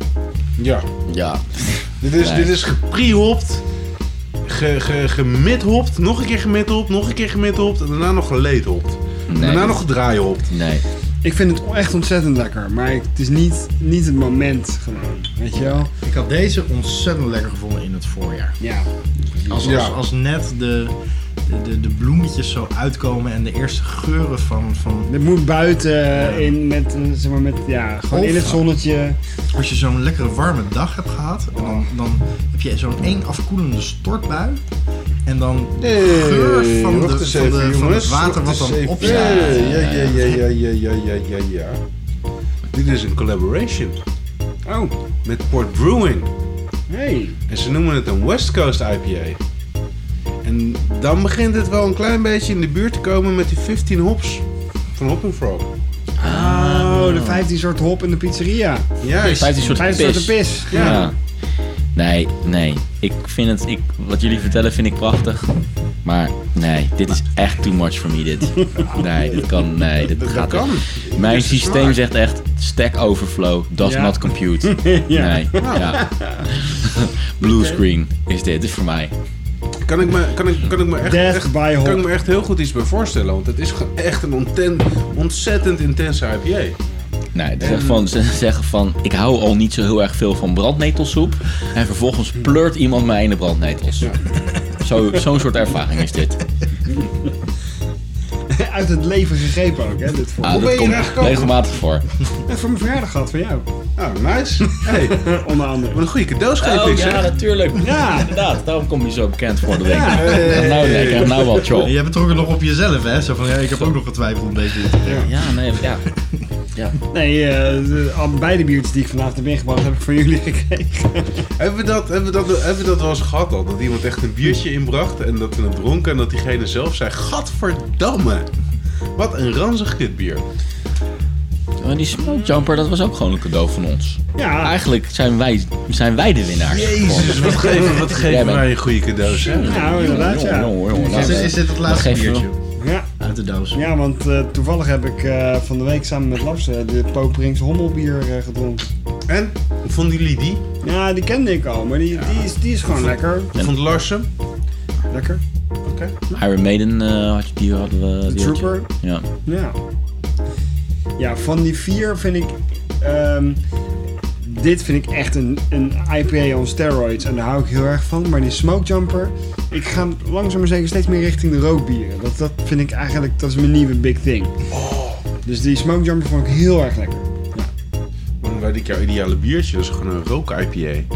Speaker 3: Ja.
Speaker 1: Ja.
Speaker 3: Dit is,
Speaker 1: Nee.
Speaker 3: dit is geprehopt, ge, ge, gemidhopt, nog een keer gemidhopt, nog een keer gemidhopt en daarna nog geleedhopt. En
Speaker 1: Nee,
Speaker 3: daarna
Speaker 1: dit-
Speaker 3: nog gedraaihopt.
Speaker 1: Nee.
Speaker 5: Ik vind het echt ontzettend lekker, maar ik- het is niet, niet het moment gewoon. Weet je wel?
Speaker 2: Ik had deze ontzettend lekker gevonden in het voorjaar.
Speaker 5: Ja.
Speaker 2: Als,
Speaker 3: Ja.
Speaker 2: als, als net de, de, de, de bloemetjes zo uitkomen en de eerste geuren van... van
Speaker 5: Dit moet buiten, in, met, eh, zeg maar, met, ja, gewoon
Speaker 2: Of-
Speaker 5: in het zonnetje.
Speaker 2: als je zo'n lekkere warme dag hebt gehad, en dan, dan heb je zo'n één afkoelende stortbui. En dan de
Speaker 3: Hey,
Speaker 2: geur van,
Speaker 3: wacht
Speaker 2: de,
Speaker 3: eens
Speaker 2: van,
Speaker 3: even,
Speaker 2: de, van het
Speaker 3: jongens.
Speaker 2: water wat
Speaker 3: Wacht eens
Speaker 2: dan
Speaker 3: even.
Speaker 2: opstaat.
Speaker 3: Ja, ja, ja, ja, ja, ja, ja, ja, ja. Dit is een collaboration
Speaker 5: Oh,
Speaker 3: met Port Brewing.
Speaker 5: hey.
Speaker 3: En ze noemen het een West Coast IPA. En dan begint het wel een klein beetje in de buurt te komen met die 15 hops van Hop and Frog.
Speaker 5: Oh, de 15 soort hop in de pizzeria.
Speaker 3: Juist.
Speaker 1: 15 soort
Speaker 5: 15 soorten
Speaker 1: pis.
Speaker 5: pis.
Speaker 1: Ja. Nee, nee. Ik vind het, ik, wat jullie vertellen vind ik prachtig. Maar nee, dit is echt too much for me dit. Nee, dit kan, nee, dit
Speaker 3: Dat
Speaker 1: gaat
Speaker 3: kan.
Speaker 1: echt- Mijn systeem zegt echt, stack overflow, does
Speaker 5: Ja.
Speaker 1: not compute.
Speaker 5: Ja. *laughs*
Speaker 1: Nee, ja. *laughs* Blue screen is dit, is voor mij.
Speaker 3: Kan ik me, kan ik, kan ik me echt,
Speaker 5: Death
Speaker 3: echt-
Speaker 5: by
Speaker 3: kan ik
Speaker 5: hop.
Speaker 3: me echt heel goed iets bij voorstellen. Want het is gewoon echt een onten- ontzettend intense IPA.
Speaker 1: Nee, het is echt van, ze *laughs* zeggen van, ik hou al niet zo heel erg veel van brandnetelsoep. En vervolgens pleurt iemand mij in de brandnetels. *laughs* Zo- Zo'n soort ervaring is dit.
Speaker 5: Uit het leven gegrepen ook, hè, dit voor.
Speaker 1: Ah,
Speaker 3: ben
Speaker 1: dat
Speaker 3: je
Speaker 1: komt
Speaker 3: daar gekomen?
Speaker 1: regelmatig voor.
Speaker 5: Voor mijn verjaardag gehad, van jou. *laughs*
Speaker 3: Nou, nice. *laughs* Hey, wat
Speaker 5: Onder andere.
Speaker 3: een goede cadeauschijf ik zeg.
Speaker 1: Oh, natuurlijk.
Speaker 5: Ja.
Speaker 1: inderdaad. Daarom kom je zo bekend voor de week.
Speaker 5: Ja.
Speaker 1: Nou, nee, ik krijg nou wel chol.
Speaker 2: Jij betrok het nog op jezelf, hè? Zo van, ja, ik heb ook nog getwijfeld een beetje.
Speaker 1: Ja, nee, ja. ja.
Speaker 5: Nee, eh, de- al beide biertjes die ik vanavond heb ingebracht heb ik van jullie *laughs* gekregen.
Speaker 3: *laughs* Hebben we, dat, hebben, we dat, hebben we dat wel eens gehad al? Dat iemand echt een biertje inbracht en dat we het dronken en dat diegene zelf zei... Gadverdamme, wat een ranzig kutbier.
Speaker 1: Maar die smelljumper, dat was ook gewoon een cadeau van ons.
Speaker 5: Ja,
Speaker 1: Eigenlijk zijn wij, zijn wij de winnaars.
Speaker 3: Jezus, wat geven, wat
Speaker 1: Jij
Speaker 3: geven
Speaker 1: bent-
Speaker 3: wij een goede cadeaus, hè?
Speaker 5: nou, inderdaad,
Speaker 1: Jongen,
Speaker 5: ja.
Speaker 1: jongen, jongen,
Speaker 2: Is,
Speaker 1: laten we-
Speaker 2: is dit het laatste
Speaker 1: Dat geeft
Speaker 2: biertje
Speaker 5: ja.
Speaker 2: uit de doos?
Speaker 5: Ja, want eh, toevallig heb ik eh, van de week samen met Lars eh, de Poperings hommelbier eh, gedronken.
Speaker 3: En? Hoe vonden jullie die?
Speaker 5: Ja, die kende ik al, maar die, die, is, die is gewoon lekker.
Speaker 3: Hoe vond Larsen?
Speaker 5: Lekker.
Speaker 1: Iron Maiden eh, had je, die hadden we.
Speaker 5: De
Speaker 1: die had je.
Speaker 5: Trooper.
Speaker 1: Ja.
Speaker 5: Ja. Ja, van die vier vind ik... ehm, dit vind ik echt een, een IPA on steroids en daar hou ik heel erg van. Maar die smoke jumper, ik ga langzaam maar zeker steeds meer richting de rookbieren. Dat, dat vind ik eigenlijk, dat is mijn nieuwe big thing. Dus die smoke jumper vond ik heel erg lekker.
Speaker 3: Dan werd ik jouw ideale biertje. Dat is gewoon een rook IPA.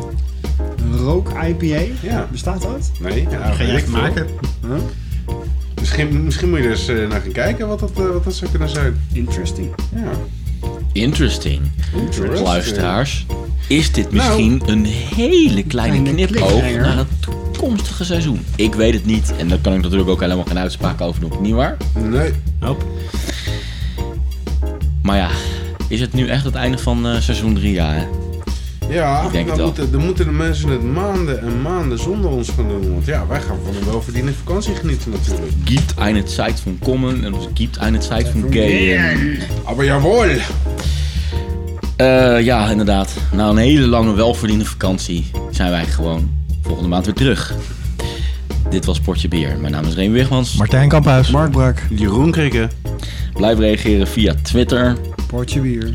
Speaker 5: Een rook IPA,
Speaker 3: Ja.
Speaker 5: bestaat dat?
Speaker 3: Nee? Ja,
Speaker 2: Ga
Speaker 3: weet
Speaker 2: jij
Speaker 3: ik
Speaker 2: het
Speaker 3: veel.
Speaker 2: maken?
Speaker 3: Misschien, misschien moet je dus eh, naar gaan kijken wat dat, eh, wat dat zou kunnen zijn.
Speaker 5: Interesting.
Speaker 3: Ja.
Speaker 1: Interesting.
Speaker 3: Interesting.
Speaker 1: Luisteraars, is dit misschien een hele kleine
Speaker 5: Nou, Kleine
Speaker 1: knipoog
Speaker 5: cliffhanger.
Speaker 1: naar het toekomstige seizoen? Ik weet het niet en daar kan ik natuurlijk ook helemaal geen uitspraak over doen, nietwaar?
Speaker 3: Nee.
Speaker 1: Maar ja, is het nu echt het einde van eh, seizoen 3? Ja, hè?
Speaker 3: Ja,
Speaker 1: denk het
Speaker 3: dan
Speaker 1: wel.
Speaker 3: moeten, dan moeten de mensen het maanden en maanden zonder ons gaan doen. Want ja, wij gaan van een welverdiende vakantie genieten natuurlijk.
Speaker 1: Gibt eine Zeit von Kommen en dus gibt eine Zeit von Gehen.
Speaker 3: Aber jawohl!
Speaker 1: Eh, ja, inderdaad. Na een hele lange welverdiende vakantie zijn wij gewoon volgende maand weer terug. Dit was Portje Beer. Mijn naam is Reen Wigmans.
Speaker 2: Martijn Kamphuis. Mark Brak.
Speaker 8: Jeroen Krikke,
Speaker 1: Blijf reageren via Twitter,
Speaker 5: Portje bier.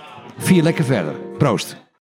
Speaker 9: Vier lekker verder. Proost.